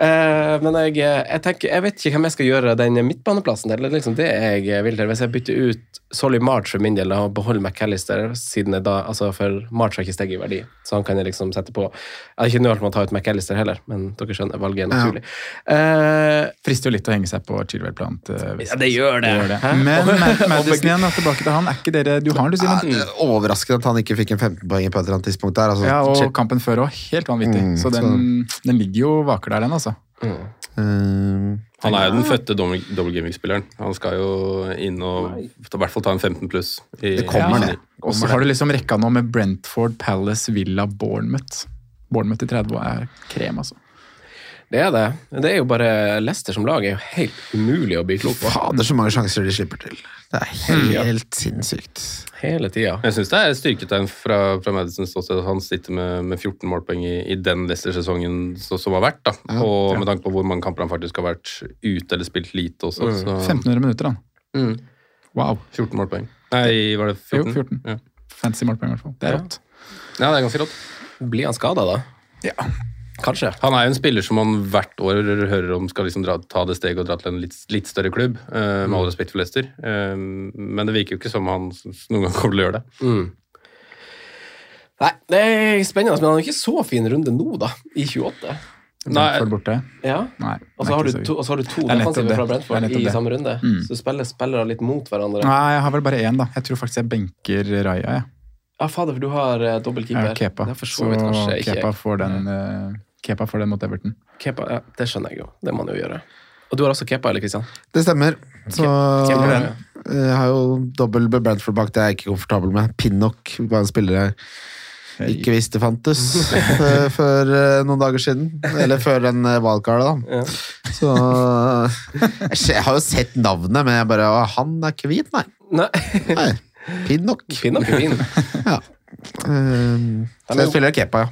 Speaker 2: Eh, Men jeg, eh, jeg, tenker, jeg vet ikke hvem jeg skal gjøre den midtbaneplassen til. Det er liksom det jeg eh, vil til. Hvis jeg bytter ut Solly March for min del og beholder McAllister, siden jeg da, altså for March har ikke steget i verdi, så han kan jeg liksom sette på Jeg har ikke nølt med å ta ut McAllister heller, men dere skjønner, valget er naturlig. Eh,
Speaker 4: Frister jo litt å henge seg på Chilwell-planen til
Speaker 2: ja, det gjør det.
Speaker 4: Gjør det. Men Matt Madison igjen, da, tilbake til han. Er ikke dere Du har han, du,
Speaker 3: Ja,
Speaker 4: Simen?
Speaker 3: det er Eh, Overraskende at han ikke fikk en 15 poeng på et eller annet tidspunkt der. Altså,
Speaker 4: Ja, og
Speaker 3: shit.
Speaker 4: kampen før òg. Helt vanvittig.
Speaker 3: Mm,
Speaker 4: Så den, den ligger jo vaker der, den, altså.
Speaker 3: Eh,
Speaker 5: Han er jo den fødte dobbel dobbel Gameweek-spilleren. Han skal jo inn og ta- i hvert fall ta en 15 pluss. I,
Speaker 3: Det kommer,
Speaker 5: i-
Speaker 3: det.
Speaker 4: Og så har du liksom rekka nå med Brentford, Palace, Villa, Bournemouth. Bournemouth i 30 er krem, altså.
Speaker 2: Det er det. Det er jo bare Leicester som lag er jo helt umulig å bli klok på.
Speaker 3: Fader, så mange sjanser de slipper til. Det er
Speaker 4: Mm.
Speaker 3: helt sinnssykt.
Speaker 2: Hele tida.
Speaker 5: Jeg syns det er et styrketegn fra, fra Madisons ståsted at han sitter med, med 14 målpoeng i, i den Leicester-sesongen så- som har vært. da. og med tanke på hvor mange kamper han faktisk har vært ute eller spilt lite også. Så
Speaker 4: 1500 minutter, han.
Speaker 5: Mm.
Speaker 4: Wow.
Speaker 5: 14 målpoeng. Nei, var det 14?
Speaker 4: Jo, 14.
Speaker 5: Ja.
Speaker 4: Fancy målpoeng, i hvert fall. Det er rått.
Speaker 5: ja, det er ganske rått.
Speaker 2: Blir han skada, da?
Speaker 4: Ja.
Speaker 2: Kanskje.
Speaker 5: Han er jo en spiller som man hvert år hører om skal liksom dra, ta det steget og dra til en litt, litt større klubb. eh, med all respekt for Leicester. Eh, men det virker jo ikke som han s- noen gang kommer til å gjøre det.
Speaker 2: Nei, det er spennende, men han er ikke så fin runde nå, da. I 28.
Speaker 5: Nei,
Speaker 4: Brentford borte.
Speaker 2: Ja.
Speaker 4: Nei.
Speaker 2: Og så
Speaker 4: det er
Speaker 2: har,
Speaker 4: ikke
Speaker 2: du
Speaker 4: så-
Speaker 2: to, og så har du to
Speaker 4: Det er nettopp
Speaker 2: defensive
Speaker 4: det.
Speaker 2: fra
Speaker 4: Det er
Speaker 2: Brentford
Speaker 4: nettopp
Speaker 2: i
Speaker 4: det.
Speaker 2: samme runde.
Speaker 4: Mm.
Speaker 2: Så spiller spillere litt mot hverandre.
Speaker 4: Nei, jeg har vel bare én, da. Jeg tror faktisk jeg benker Raja. Jeg,
Speaker 2: Ja, fader, for du har uh, dobbel
Speaker 4: jeg
Speaker 2: keeper.
Speaker 4: har Kepa.
Speaker 2: Det er for så
Speaker 4: Så
Speaker 2: vidt kanskje
Speaker 4: Kepa
Speaker 2: ikke
Speaker 4: får den, eh, Kepa får den mot Everton.
Speaker 2: Kepa, ja, Det skjønner jeg jo. Det må han jo gjøre. Og du har også Kepa, eller Kristian?
Speaker 3: Det stemmer. Så
Speaker 2: Kepa,
Speaker 3: eh,
Speaker 2: ja.
Speaker 3: jeg har jo dobbel med Brentford bak, det er jeg ikke komfortabel med. Pinnock var en spiller jeg ikke visste fantes eh, før eh, noen dager siden. Eller før den eh, wildcardet, da. Så eh, jeg ser- Jeg har jo sett navnet, men jeg bare Å, han er ikke hvit, nei.
Speaker 2: Nei,
Speaker 3: nei. Pinnock.
Speaker 2: Finn er ikke fin.
Speaker 3: Ja. Eh, så jeg spiller Kepa, ja.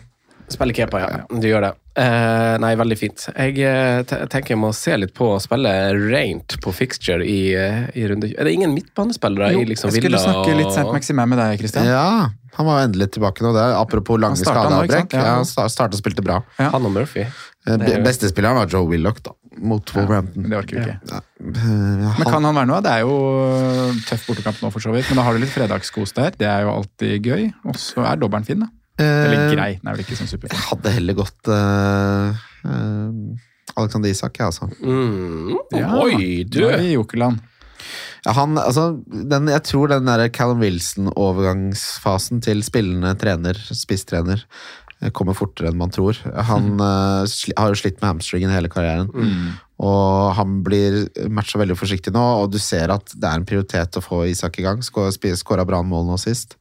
Speaker 2: Spiller kepa, ja. Du gjør det. Eh, nei, veldig fint. Jeg eh, te- tenker jeg må se litt på å spille rent på fixture i, eh, i runde Er det ingen midtbanespillere i liksom
Speaker 4: jeg skulle
Speaker 2: Villa
Speaker 4: snakke litt
Speaker 2: og-
Speaker 4: Saint Maximin med deg, Christian.
Speaker 3: ja. Han var jo endelig tilbake nå. Det er, apropos lange
Speaker 4: startet nå, ikke sant?
Speaker 3: skadeavbrekk.
Speaker 4: Ja.
Speaker 3: Ja, han sta- startet og spilte bra.
Speaker 4: Ja.
Speaker 2: Han og Murphy.
Speaker 3: Eh,
Speaker 2: Det er jo-
Speaker 3: Bestespilleren var Joe Willoch, da. Mot Wolverhampton.
Speaker 4: Men det orker vi ikke.
Speaker 3: Nei, eh,
Speaker 4: Men
Speaker 3: han-
Speaker 4: kan han være noe? Det er jo tøff bortekamp nå, for så vidt. Men da har du litt fredagskos der. Det er jo alltid gøy. Og så er dobbelen fin, da. Eller
Speaker 3: Eh,
Speaker 4: grei. Den er vel ikke sånn
Speaker 3: Jeg
Speaker 4: superfin.
Speaker 3: hadde heller gått eh, eh, Alexander Isak, jeg, altså.
Speaker 2: Mm.
Speaker 4: Ja,
Speaker 2: Oi,
Speaker 4: nå
Speaker 2: du!
Speaker 4: er vi I Jokeland.
Speaker 3: Ja, han, altså den, jeg tror den der Callum Wilson-overgangsfasen til spillende trener, spisstrener, eh, kommer fortere enn man tror. Han eh, sli, har jo slitt med hamstringen hele karrieren.
Speaker 2: Mm.
Speaker 3: Og han blir matcha veldig forsiktig nå, og du ser at det er en prioritet å få Isak i gang. Skåra bra mål nå sist.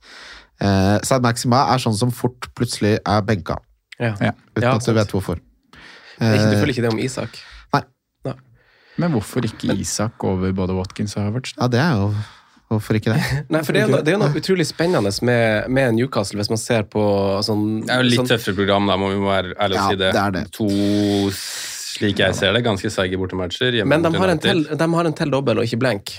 Speaker 3: Eh, Sad Maxima er sånn som fort plutselig er benka,
Speaker 2: Ja.
Speaker 4: Ja.
Speaker 3: uten
Speaker 2: Ja,
Speaker 3: at du
Speaker 2: sant.
Speaker 3: vet hvorfor.
Speaker 2: Ikke, du
Speaker 3: Eh,
Speaker 2: føler ikke det om Isak?
Speaker 4: Men hvorfor ikke Isak over både Watkins og Havertz?
Speaker 3: Ja, det er jo Hvorfor ikke det?
Speaker 2: Nei, for Det er jo noe, det er jo noe utrolig spennende med, med Newcastle, hvis man ser på sånn
Speaker 5: Det er jo litt
Speaker 2: sånn,
Speaker 5: tøffere program, da, må vi være ærlige
Speaker 3: Ja,
Speaker 5: og si det.
Speaker 3: det er det.
Speaker 5: To, slik jeg ser det, ganske seige bortematcher. hjemme
Speaker 2: Men de
Speaker 5: mot
Speaker 2: har, en
Speaker 5: United.
Speaker 2: til, de har en til dobbel og ikke blank.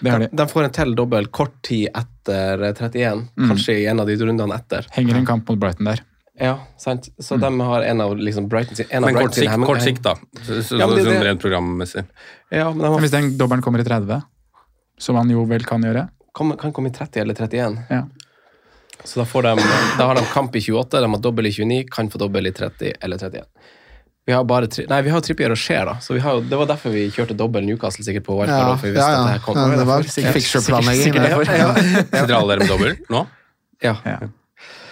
Speaker 4: Det har de.
Speaker 2: De får en til dobbel kort tid etter 31, kanskje i en av de rundene etter.
Speaker 4: Henger en kamp mot Brighton der.
Speaker 2: Ja, sant? Så de har en av liksom Brighton sin en av
Speaker 5: Mm. Men
Speaker 2: Brighton
Speaker 5: kort
Speaker 2: sin
Speaker 5: sikt,
Speaker 2: hemming-
Speaker 5: kort sikt da. Så, så,
Speaker 2: Ja, men det er
Speaker 5: sånn
Speaker 2: det-
Speaker 5: rent programmessig.
Speaker 2: Ja, men de
Speaker 4: Men
Speaker 2: har,
Speaker 4: hvis den dobbelen kommer i 30, som han jo vel kan gjøre
Speaker 2: kan, kan komme i 30 eller 31.
Speaker 4: ja.
Speaker 2: Så da, får de, da har de kamp i 28, de har dobbel i 29, kan få dobbel i 30 eller 31. Vi har bare tri Nei, vi har jo Trippier og Skjer, da. Så vi har jo, det var derfor vi kjørte dobbel Newcastle sikkert på Wildcard.
Speaker 3: Ja,
Speaker 2: da, for vi
Speaker 3: ja,
Speaker 2: visste at
Speaker 3: ja.
Speaker 2: det her kom.
Speaker 3: ja det var
Speaker 4: Sikkert-
Speaker 3: fixture-planlegging.
Speaker 4: sikkert- sikkert
Speaker 3: det.
Speaker 4: derfor.
Speaker 5: Sitter alle dere med dobbel nå?
Speaker 2: Ja.
Speaker 4: Ja.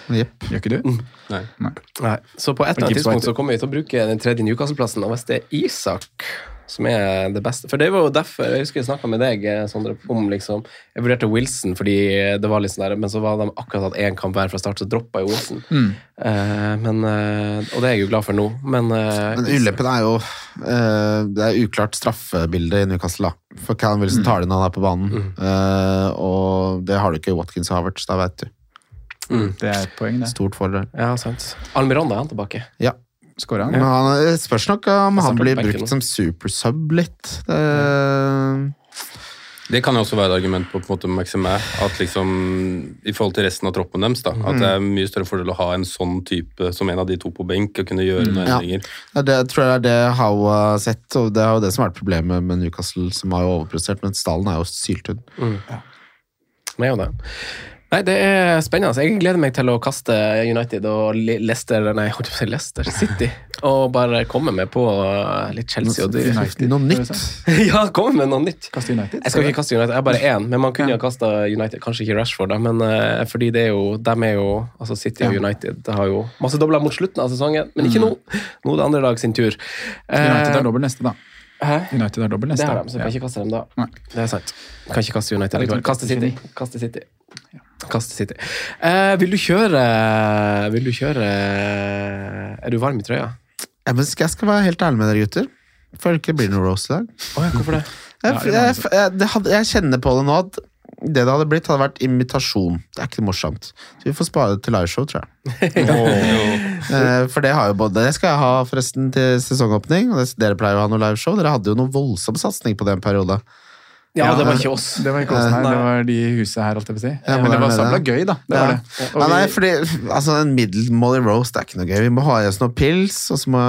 Speaker 3: Jepp.
Speaker 4: Gjør ikke du?
Speaker 5: Nei.
Speaker 2: Nei. Så på et eller annet
Speaker 4: Og Gibbs
Speaker 2: tidspunkt
Speaker 4: White.
Speaker 2: så kommer vi til å bruke den tredje Newcastle-plassen, og hvis det er Isak som er det beste For det var jo derfor jeg husker jeg snakka med deg, eh, Sondre, om liksom Jeg vurderte Wilson, fordi det var litt sånn der, men så var de akkurat hatt én kamp hver fra start, så droppa jeg Wilson.
Speaker 4: Mm.
Speaker 2: Eh, men, eh, og det er jeg jo glad for nå, men, eh,
Speaker 3: Men ulempen er jo eh, Det er uklart straffebilde i Newcastle. da. For Callum
Speaker 2: Mm.
Speaker 3: Wilson tar det når han er på banen. Eh, og det har du ikke i Watkins og Havertz, da vet du.
Speaker 4: Det er et poeng, det.
Speaker 3: Stort fordel.
Speaker 2: Ja, sant. Almironda er han tilbake.
Speaker 3: Ja.
Speaker 4: Skårer han?
Speaker 3: Men han, det spørs nok om han
Speaker 2: starter
Speaker 3: blir
Speaker 2: på benken nå.
Speaker 3: brukt som supersub litt. Det,
Speaker 5: Det kan jo også være et argument på, på en måte Maximæ, at liksom, i forhold til resten av troppen deres, da, at det er mye større fordel å ha en sånn type som en av de to på benk, og kunne
Speaker 2: Mm.
Speaker 5: gjøre noen
Speaker 3: Ja.
Speaker 5: endringer.
Speaker 3: Ja, Det tror jeg er det Howe har sett, og det er jo det som har vært problemet med Newcastle, som har jo overprestert, men stallen er jo syltynn.
Speaker 2: Han er jo det. Nei, det er spennende. altså. Jeg gleder meg til å kaste United og Le- Leicester Nei, jeg holdt på å si Leicester City. Og bare komme med på eh, litt Chelsea og dyr.
Speaker 4: United,
Speaker 3: Noe
Speaker 4: skal vi
Speaker 3: nytt!
Speaker 4: se.
Speaker 2: Ja, komme med noe nytt.
Speaker 4: Kaste United.
Speaker 2: Jeg skal ikke kaste United, jeg er bare én, men man kunne jo ha kasta United. Kanskje ikke Rashford, da, men eh, fordi det er jo, dem er jo altså City og United det har jo masse dobler mot slutten av sesongen, men ikke nå. Nå er det andre lag sin tur.
Speaker 4: Mm. United
Speaker 2: Eh,
Speaker 4: har dobbel neste, da.
Speaker 2: Hæ?
Speaker 4: United har dobbel
Speaker 2: Det
Speaker 4: neste.
Speaker 2: har de, så jeg kan
Speaker 4: ja.
Speaker 2: ikke kaste dem da.
Speaker 4: Nei.
Speaker 2: Det er sant. Kan ikke kaste United. likevel. Kaste City. Kaste City. Kaste City. Eh, vil du kjøre Vil du kjøre Er du eh, varm i trøya?
Speaker 3: Ja, men skal jeg skal være helt ærlig med dere, gutter. Jeg Føler ikke det blir noe roast i dag.
Speaker 2: hvorfor det?
Speaker 3: Jeg,
Speaker 4: det er
Speaker 3: jeg, jeg, det hadde, jeg kjenner på det nå at det det hadde blitt, hadde vært invitasjon. Det er ikke noe morsomt. Så vi får spare det til liveshow, tror jeg. Eh, For det har jo både Det skal jeg ha forresten til sesongåpning. Og det, dere pleier jo å ha noe liveshow. Dere hadde jo noe voldsom satsing på det en periode.
Speaker 2: Ja, det var ikke oss.
Speaker 4: Det var ikke oss, nei. Det var de huset her, holdt jeg på å si.
Speaker 3: Ja,
Speaker 4: men det
Speaker 3: det
Speaker 4: var
Speaker 3: er
Speaker 4: sabla
Speaker 3: det.
Speaker 4: gøy, da. Det var det.
Speaker 3: Ja, nei, fordi altså, En middelmådig roast er ikke noe gøy. Vi må ha i oss noen pils, og så må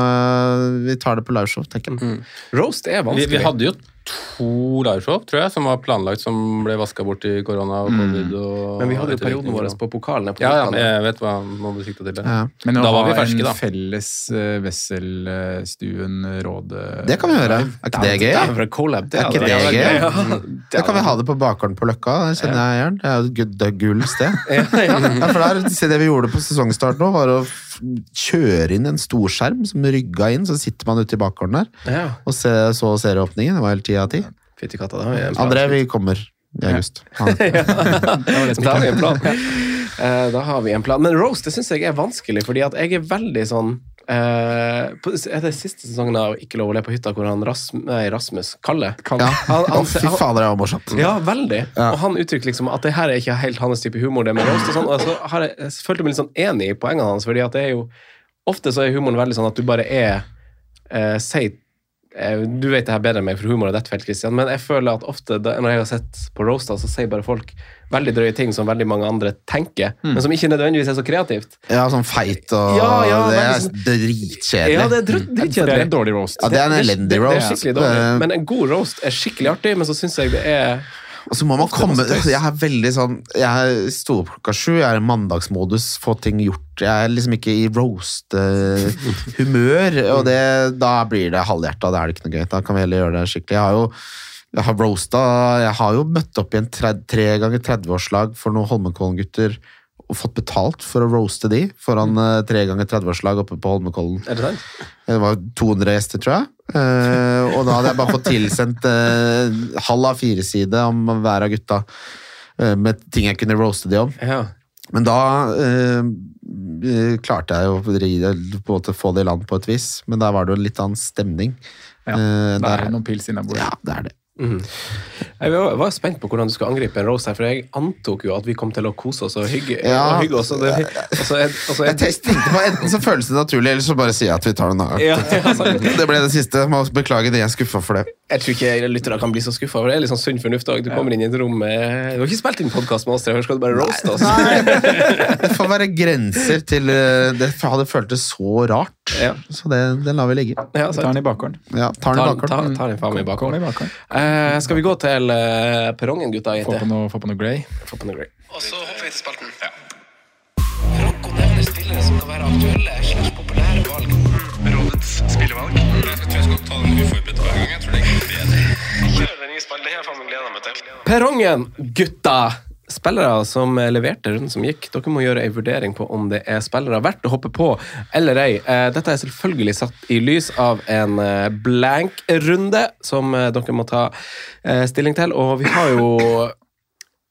Speaker 3: vi tar det på liveshow, tenker jeg.
Speaker 2: Roast er
Speaker 5: Vi,
Speaker 2: vanskelig.
Speaker 5: vi hadde jo to liveshow, tror jeg, som var planlagt, som ble vaska bort i korona og covid. Og
Speaker 2: Mm.
Speaker 5: sånn.
Speaker 2: men vi hadde jo perioden vår på pokalene. På
Speaker 5: Ja, ja, men
Speaker 2: Vulkanen.
Speaker 5: jeg vet hva man blir sikta til.
Speaker 3: Ja.
Speaker 4: Men å
Speaker 5: Da var
Speaker 4: ha
Speaker 5: vi ferske, da.
Speaker 4: en felles eh, Wesselstuen-råd
Speaker 3: Det kan vi gjøre. Er ikke det gøy?
Speaker 2: Dæven, for en collab. Det
Speaker 3: Er ikke
Speaker 2: hadde
Speaker 3: det
Speaker 2: vært
Speaker 3: gøy?
Speaker 2: Ja.
Speaker 3: Da kan vi ha det på bakgården på Løkka. Der kjenner jeg eieren. Det er jo et gud- det er gull sted. ja, for der, se det vi gjorde på sesongstart nå, var å f- kjøre inn en storskjerm som rygga inn, så sitter man ute i bakgården der
Speaker 2: Ja.
Speaker 3: og se, så serieåpningen. Det var helt ti av ti.
Speaker 2: Fytti katta, det var jo en plan.
Speaker 3: André, vi kommer i august. Ha det.
Speaker 2: Da har vi en plan. Eh, Da har vi en plan. Men roast det syns jeg er vanskelig, fordi at jeg er veldig sånn eh, på, er det siste sesongen av Ikke lov å le på hytta, hvor han Rasm, nei, Rasmus Kalle
Speaker 3: Ja.
Speaker 2: Han,
Speaker 3: Å,
Speaker 2: han,
Speaker 3: fy fader, det var morsomt.
Speaker 2: ja, veldig.
Speaker 3: Ja.
Speaker 2: Og han uttrykker liksom at det her er ikke helt hans type humor, det med roast og sånn. Og så har jeg, jeg følte meg litt sånn enig i poengene hans, fordi at det er jo Ofte så er humoren veldig sånn at du bare er eh, sier, eh, Du vet det her bedre enn meg, for humor er ditt felt, Christian, men jeg føler at ofte da, når jeg har sett på roaster, så sier bare folk veldig drøye ting som veldig mange andre tenker,
Speaker 4: Mm.
Speaker 2: men som ikke nødvendigvis er så kreativt.
Speaker 3: Ja, sånn feit og
Speaker 2: Ja, ja,
Speaker 3: Det er
Speaker 2: veldig sånn-
Speaker 3: dritkjedelig.
Speaker 2: Ja, det er dr-
Speaker 4: Det er
Speaker 2: dritkjedelig.
Speaker 4: en dårlig roast.
Speaker 3: Ja, det er en elendig
Speaker 2: det- Det
Speaker 3: roast.
Speaker 2: er skikkelig dårlig.
Speaker 3: Eh,
Speaker 2: Men en god roast er skikkelig artig, men så syns jeg det er
Speaker 3: Og så må man komme Jeg er veldig sånn Jeg sto opp klokka sju, jeg er i mandagsmodus, få ting gjort. Jeg er liksom ikke i roast-humør, og det, da blir det halvhjerta. Da er det ikke noe gøy. Da kan vi heller gjøre det skikkelig. Jeg har jo jeg har roasta Jeg har jo møtt opp i en tre, tre ganger 30-årslag for noen Holmenkollen-gutter og fått betalt for å roaste de foran eh, tre ganger 30-årslag oppe på Holmenkollen.
Speaker 2: Er det sant?
Speaker 3: Det var 200 gjester, tror jeg. Eh, og da hadde jeg bare fått tilsendt eh, halv av fire side om hver av gutta. eh, Med ting jeg kunne roaste de om.
Speaker 2: Ja.
Speaker 3: Men da eh, eh, klarte jeg jo å ri- eh, på en måte få det i land på et vis. Men der var det jo en litt annen stemning.
Speaker 4: Ja,
Speaker 3: Eh,
Speaker 4: Det
Speaker 3: der-
Speaker 4: er noen pils innabords.
Speaker 3: ja, det er det.
Speaker 2: Jeg var var spent på hvordan du skulle angripe en roast her, for jeg antok jo at vi kom til å kose oss og hygge,
Speaker 3: Ja.
Speaker 2: og hygge oss. Og det, og så er, og så er,
Speaker 3: Jeg tenkte på Enten så føles det naturlig, eller så bare sier jeg at vi tar det en annen gang.
Speaker 2: ja, ja, sant.
Speaker 3: Det ble det siste. Må beklage det. Jeg er skuffa for det.
Speaker 2: jeg tror ikke lyttere kan bli så skuffa, for det er litt sånn sunn fornuft òg. Du kommer inn i et rom med Du har ikke spilt inn podkast med oss, tre år, skal du bare roaste oss?
Speaker 3: altså. Det får være grenser til eh, Det hadde føltes så rart.
Speaker 2: Ja.
Speaker 3: Så det, den lar vi ligge.
Speaker 2: Ja,
Speaker 4: Vi tar
Speaker 2: sant.
Speaker 4: den i bakgården.
Speaker 3: Ja, tar
Speaker 2: Ta,
Speaker 3: den i
Speaker 2: ta,
Speaker 3: bakgården.
Speaker 2: ta din faen meg i
Speaker 4: Kom i
Speaker 2: bakgården.
Speaker 4: bakgården.
Speaker 2: Eh, skal vi gå til eh, perrongen, gutta?
Speaker 4: Få
Speaker 2: jenter?
Speaker 4: på noe, få på noe grey.
Speaker 2: Få på noe greier.
Speaker 6: Og så hopper vi til spalten. Ja. Franco nevner spillere som kan være aktuelle, slags populære valg. Rådets spillevalg. Jeg tror jeg skal ta den uforberedt hver gang. Jeg tror det er bedre. Kjør den i spillet. Det har jeg faen meg gleda meg til.
Speaker 2: Perrongen, gutta! Spillere som leverte runden som gikk, dere må gjøre en vurdering på om det er spillere verdt å hoppe på eller ei. Eh, Dette er selvfølgelig satt i lys av en eh, blank-runde som eh, dere må ta eh, stilling til, og vi har jo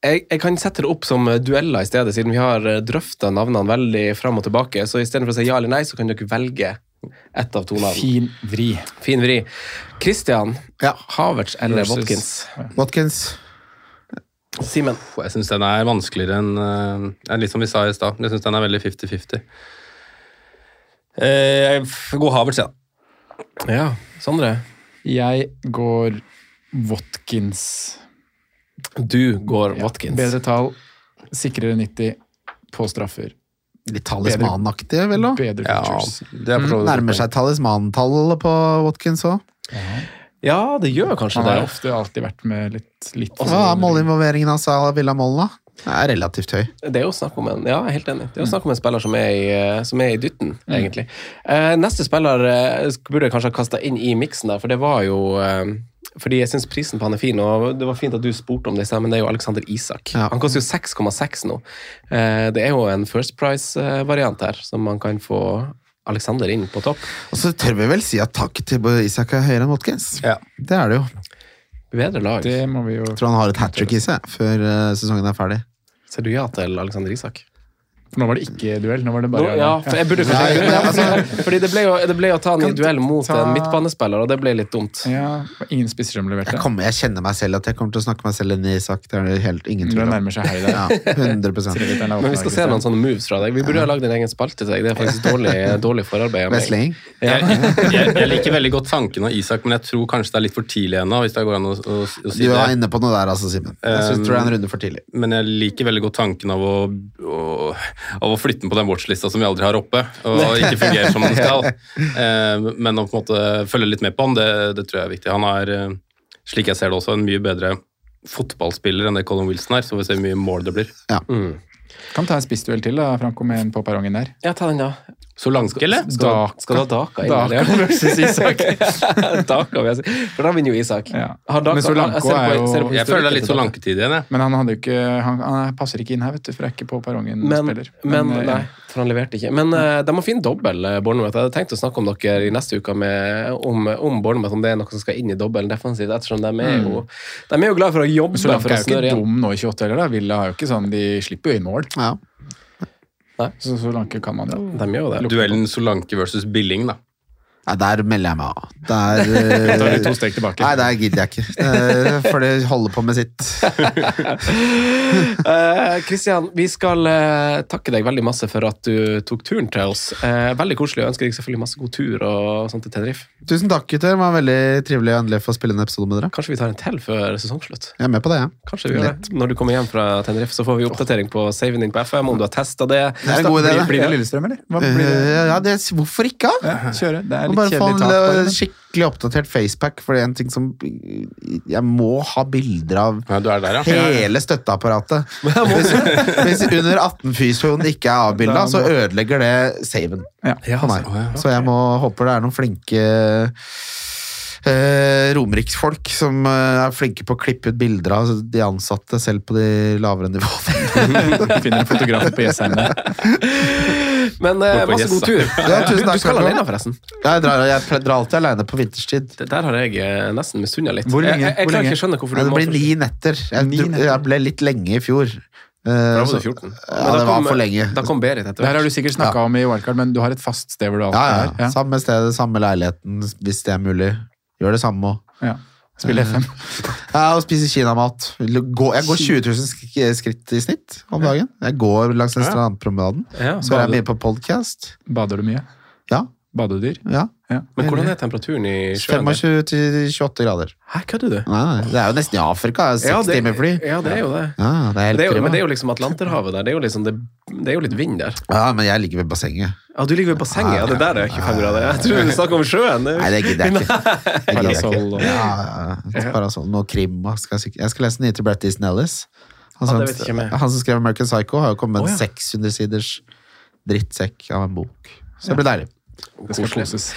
Speaker 2: jeg, jeg kan sette det opp som eh, dueller i stedet, siden vi har drøfta navnene veldig fram og tilbake. Så istedenfor å si ja eller nei, så kan dere velge ett av to navn.
Speaker 4: Fin vri.
Speaker 2: Fin vri. Christian,
Speaker 3: Ja.
Speaker 2: Havertz eller
Speaker 4: versus-
Speaker 2: Watkins?
Speaker 3: Watkins.
Speaker 2: Simen.
Speaker 5: Puh, Jeg syns den er vanskeligere enn eh, det er Litt som vi sa i stad. Jeg syns den er veldig 50-50. Eh, jeg f- går Havertz, ja.
Speaker 2: Ja, Sondre.
Speaker 4: Jeg går Watkins.
Speaker 2: Du går Watkins.
Speaker 4: Bedre tall, sikrere 90 på straffer.
Speaker 3: Litt talismanaktige, vel da? Mm,
Speaker 4: Bedre
Speaker 5: ja
Speaker 4: features.
Speaker 5: det er for så vidt-
Speaker 3: Nærmer seg talismantallet på Watkins òg.
Speaker 2: Ja, det gjør kanskje
Speaker 4: Han
Speaker 2: det.
Speaker 4: har ofte alltid vært med litt, litt for
Speaker 3: Hva er målinvolveringen hans av Villa Mollen, da? Det er relativt høy.
Speaker 2: Det er jo snakk om en ja, jeg er helt enig. Det er
Speaker 4: Mm.
Speaker 2: jo snakk om en spiller som er i, eh, som er i dytten, egentlig. Eh, neste spiller eh, sk- burde jeg kanskje ha kasta inn i miksen der, for det var jo eh, fordi jeg syns prisen på han er fin, og det var fint at du spurte om det, i sted, men det er jo Alexander Isak.
Speaker 3: Ja.
Speaker 2: Han koster jo 6,6 nå. Eh, det er jo en First Price-variant her, som man kan få Alexander inn på topp.
Speaker 3: Og så tør vi vel si at taket til Isak er høyere enn Watkins.
Speaker 5: Ja.
Speaker 3: Det er det jo. Jeg
Speaker 2: Bedre lag.
Speaker 4: Det må vi jo
Speaker 3: tror han har et hat trick i seg før eh, sesongen er ferdig.
Speaker 2: Sier du ja til Alexander Isak?
Speaker 4: For nå var det ikke duell. Nå var det bare
Speaker 2: Nå- ja, for jeg burde kanskje
Speaker 4: Ja,
Speaker 2: ikke
Speaker 4: ja, altså,
Speaker 2: det. Fordi det ble jo, det ble jo å ta han i duell mot
Speaker 4: ta-
Speaker 2: en midtbanespiller, og det ble litt dumt.
Speaker 4: Ja, ingen spisser som leverte.
Speaker 3: Jeg, kommer, jeg kjenner meg selv at jeg kommer til å snakke meg selv inn i sak. Det er det helt ingen
Speaker 4: Du
Speaker 3: tvil om.
Speaker 4: nærmer seg hei der.
Speaker 3: Ja, 100
Speaker 2: Men vi skal se noen sånne moves fra deg. Vi burde ha lagd en egen spalte til deg. Det er faktisk dårlig, dårlig forarbeid. av meg.
Speaker 3: Wrestling?
Speaker 2: Ja.
Speaker 5: Jeg, jeg liker veldig godt tanken av Isak, men jeg tror kanskje det er litt for tidlig ennå. hvis det går an å, å, å si
Speaker 3: Du
Speaker 5: det. Eh,
Speaker 3: er inne på noe der, altså, Simen. Jeg synes tror det er en runde for tidlig.
Speaker 5: Men jeg liker veldig godt tanken av å, å, av å flytte den på den watchlista som vi aldri har oppe, og ikke fungerer som den skal. Eh, Men å på en måte følge litt med på han, det, det tror jeg er viktig. Han er, eh, slik jeg ser det også, en mye bedre fotballspiller enn det Colin Wilson er, så vi ser hvor mye mål det blir.
Speaker 4: Kan ta en spissduell til, da, Franco, med en på perrongen der.
Speaker 2: Ja, ta den, da.
Speaker 5: Solanke, eller?
Speaker 4: Daka.
Speaker 2: Skal du ha Daka inn?
Speaker 4: Daka
Speaker 2: eller?
Speaker 4: versus Isak.
Speaker 2: Daka, vil jeg si. For da vinner jo Isak. Har Daka-
Speaker 4: Men Solanke
Speaker 2: ser du på-
Speaker 4: er jo
Speaker 2: ser du på
Speaker 5: Jeg føler det er litt
Speaker 2: historikken til Daka?
Speaker 5: Solanke-tid igjen, jeg.
Speaker 4: Men han, hadde jo ikke, han, han passer ikke inn her, vet du, for jeg er ikke på perrongen og
Speaker 2: Men,
Speaker 4: spiller.
Speaker 2: men
Speaker 4: eh,
Speaker 2: nei, for han leverte ikke. Men eh, de må finne dobbel, eh, Bournemouth. Jeg hadde tenkt å snakke om dere i neste uke med, om, om Bournemouth, om det er noe som skal inn i dobbelen defensivt, ettersom de er jo, de er jo glad for å jobbe
Speaker 4: Men Solanke
Speaker 2: for å
Speaker 4: er jo
Speaker 2: snøre
Speaker 4: ikke
Speaker 2: igjen.
Speaker 4: dum nå i 28 heller, da. Villa er jo ikke sånn, de slipper jo inn mål.
Speaker 3: Ja.
Speaker 2: Nei.
Speaker 4: Så Solanke kan man jo.
Speaker 2: De gjør jo det.
Speaker 5: Duellen Solanke versus Billing, da.
Speaker 3: Nei, der melder jeg meg av. Der, eh,
Speaker 4: Da er vi to steg tilbake.
Speaker 3: Nei, der gidder jeg ikke. Eh, For det holder på med sitt.
Speaker 2: Eh, Kristian, vi skal eh, takke deg veldig masse for at du tok turen til oss. Eh, veldig koselig. Jeg ønsker deg selvfølgelig masse god tur og sånt til Tenerife.
Speaker 3: Tusen takk, gutter. Det var veldig trivelig og endelig å få spille en episode med dere.
Speaker 2: Kanskje vi tar en til før sesongslutt?
Speaker 3: Jeg er med på det, jeg.
Speaker 2: Kanskje vi gjør det. Når du kommer hjem fra Tenerife, så får vi oppdatering på saven din på FM, om du har testa det.
Speaker 3: Det er en god idé,
Speaker 4: Blir,
Speaker 3: det.
Speaker 4: blir det Lillestrøm, eller? Hva blir det?
Speaker 3: Eh, Ja, det, hvorfor ikke? da?
Speaker 4: Ja, kjøre. Det er
Speaker 3: Og
Speaker 4: litt
Speaker 3: Bare få
Speaker 4: kjedelig
Speaker 3: en
Speaker 4: tap. bare,
Speaker 3: eh,
Speaker 4: men-
Speaker 3: skikkelig oppdatert facepack, for det er en ting som Jeg må ha bilder av
Speaker 5: Ja, du er der, ja.
Speaker 3: hele støtteapparatet. Hvis, hvis under 18-fysioen ikke er avbilda, så ødelegger det saven
Speaker 4: Ja.
Speaker 3: for meg. Så jeg må håper det er noen flinke eh, romeriksfolk som eh, er flinke på å klippe ut bilder av de ansatte, selv på de lavere nivåene.
Speaker 4: Finner en fotograf på Jessheim der.
Speaker 2: Men eh,
Speaker 5: Gå på
Speaker 2: masse god
Speaker 5: Jessa.
Speaker 2: tur.
Speaker 3: Ja, tusen takk,
Speaker 2: du skal
Speaker 3: Jakob.
Speaker 2: alene, forresten.
Speaker 3: Jeg drar, jeg drar alltid aleine på vinterstid.
Speaker 2: Det der har jeg eh, nesten misunna litt.
Speaker 4: Hvor lenge?
Speaker 2: Jeg, jeg, jeg
Speaker 4: Hvor
Speaker 2: klarer
Speaker 4: lenge?
Speaker 2: ikke å skjønne hvorfor
Speaker 3: Nei,
Speaker 2: du
Speaker 3: det
Speaker 2: må
Speaker 3: blir ni netter. Jeg,
Speaker 4: Ni netter.
Speaker 3: jeg ble litt lenge i fjor. Eh,
Speaker 2: Da var
Speaker 3: så-
Speaker 2: du 14. Men
Speaker 3: Ja,
Speaker 2: da
Speaker 3: det var
Speaker 2: kom- eh,
Speaker 3: for lenge.
Speaker 2: Da kom Berit etter
Speaker 4: Det her har
Speaker 2: hvert.
Speaker 4: du sikkert snakka om i Wildcard, men du har et fast sted hvor du alltid
Speaker 3: Ja, ja,
Speaker 4: er. Ja.
Speaker 3: Samme sted, samme leiligheten, hvis det er mulig. Gjør det samme òg.
Speaker 4: Ja. Spille
Speaker 3: Eh.
Speaker 4: FM.
Speaker 3: Ja, og spise kinamat. Gå- Jeg går 20 000 sk- skritt i snitt om dagen. Jeg går langs den strandpromenaden.
Speaker 2: Ja,
Speaker 3: Så er jeg mye på podkast.
Speaker 4: Bader du mye?
Speaker 3: Ja,
Speaker 4: Badedyr?
Speaker 3: ja.
Speaker 4: Ja.
Speaker 2: Men hvordan er temperaturen i sjøen? der?
Speaker 3: 25 til 28 grader.
Speaker 2: Hæ, kødder du?
Speaker 3: Nei, nei, det er jo nesten i Afrika. det er Seks timer fly.
Speaker 2: Ja, det er jo det.
Speaker 3: Ja, det er helt
Speaker 2: det er jo,
Speaker 3: prima.
Speaker 2: men det er jo liksom Atlanterhavet der. Det er jo, liksom, det, det er jo litt vind der.
Speaker 3: Ja, men jeg ligger ved bassenget.
Speaker 2: Ja, Du ligger ved bassenget. Ja, det der er 25 grader. Jeg tror du snakker om sjøen. Det er jo-
Speaker 3: Nei, det gidder jeg ikke. Det gidder jeg
Speaker 4: Parasoll
Speaker 3: ikke.
Speaker 4: og-
Speaker 3: Ja, ja, ja. Parasoll og krim. og Skal jeg, sikkert- jeg skal lese den nye til Brett Easton Ellis. Han
Speaker 2: Ja,
Speaker 3: som,
Speaker 2: det vet jeg ikke om jeg-
Speaker 3: han som skrev American Psycho, har jo kommet med en
Speaker 2: Å, ja.
Speaker 3: 600 siders drittsekk av en bok. Så det blir deilig.
Speaker 4: Det skal koses.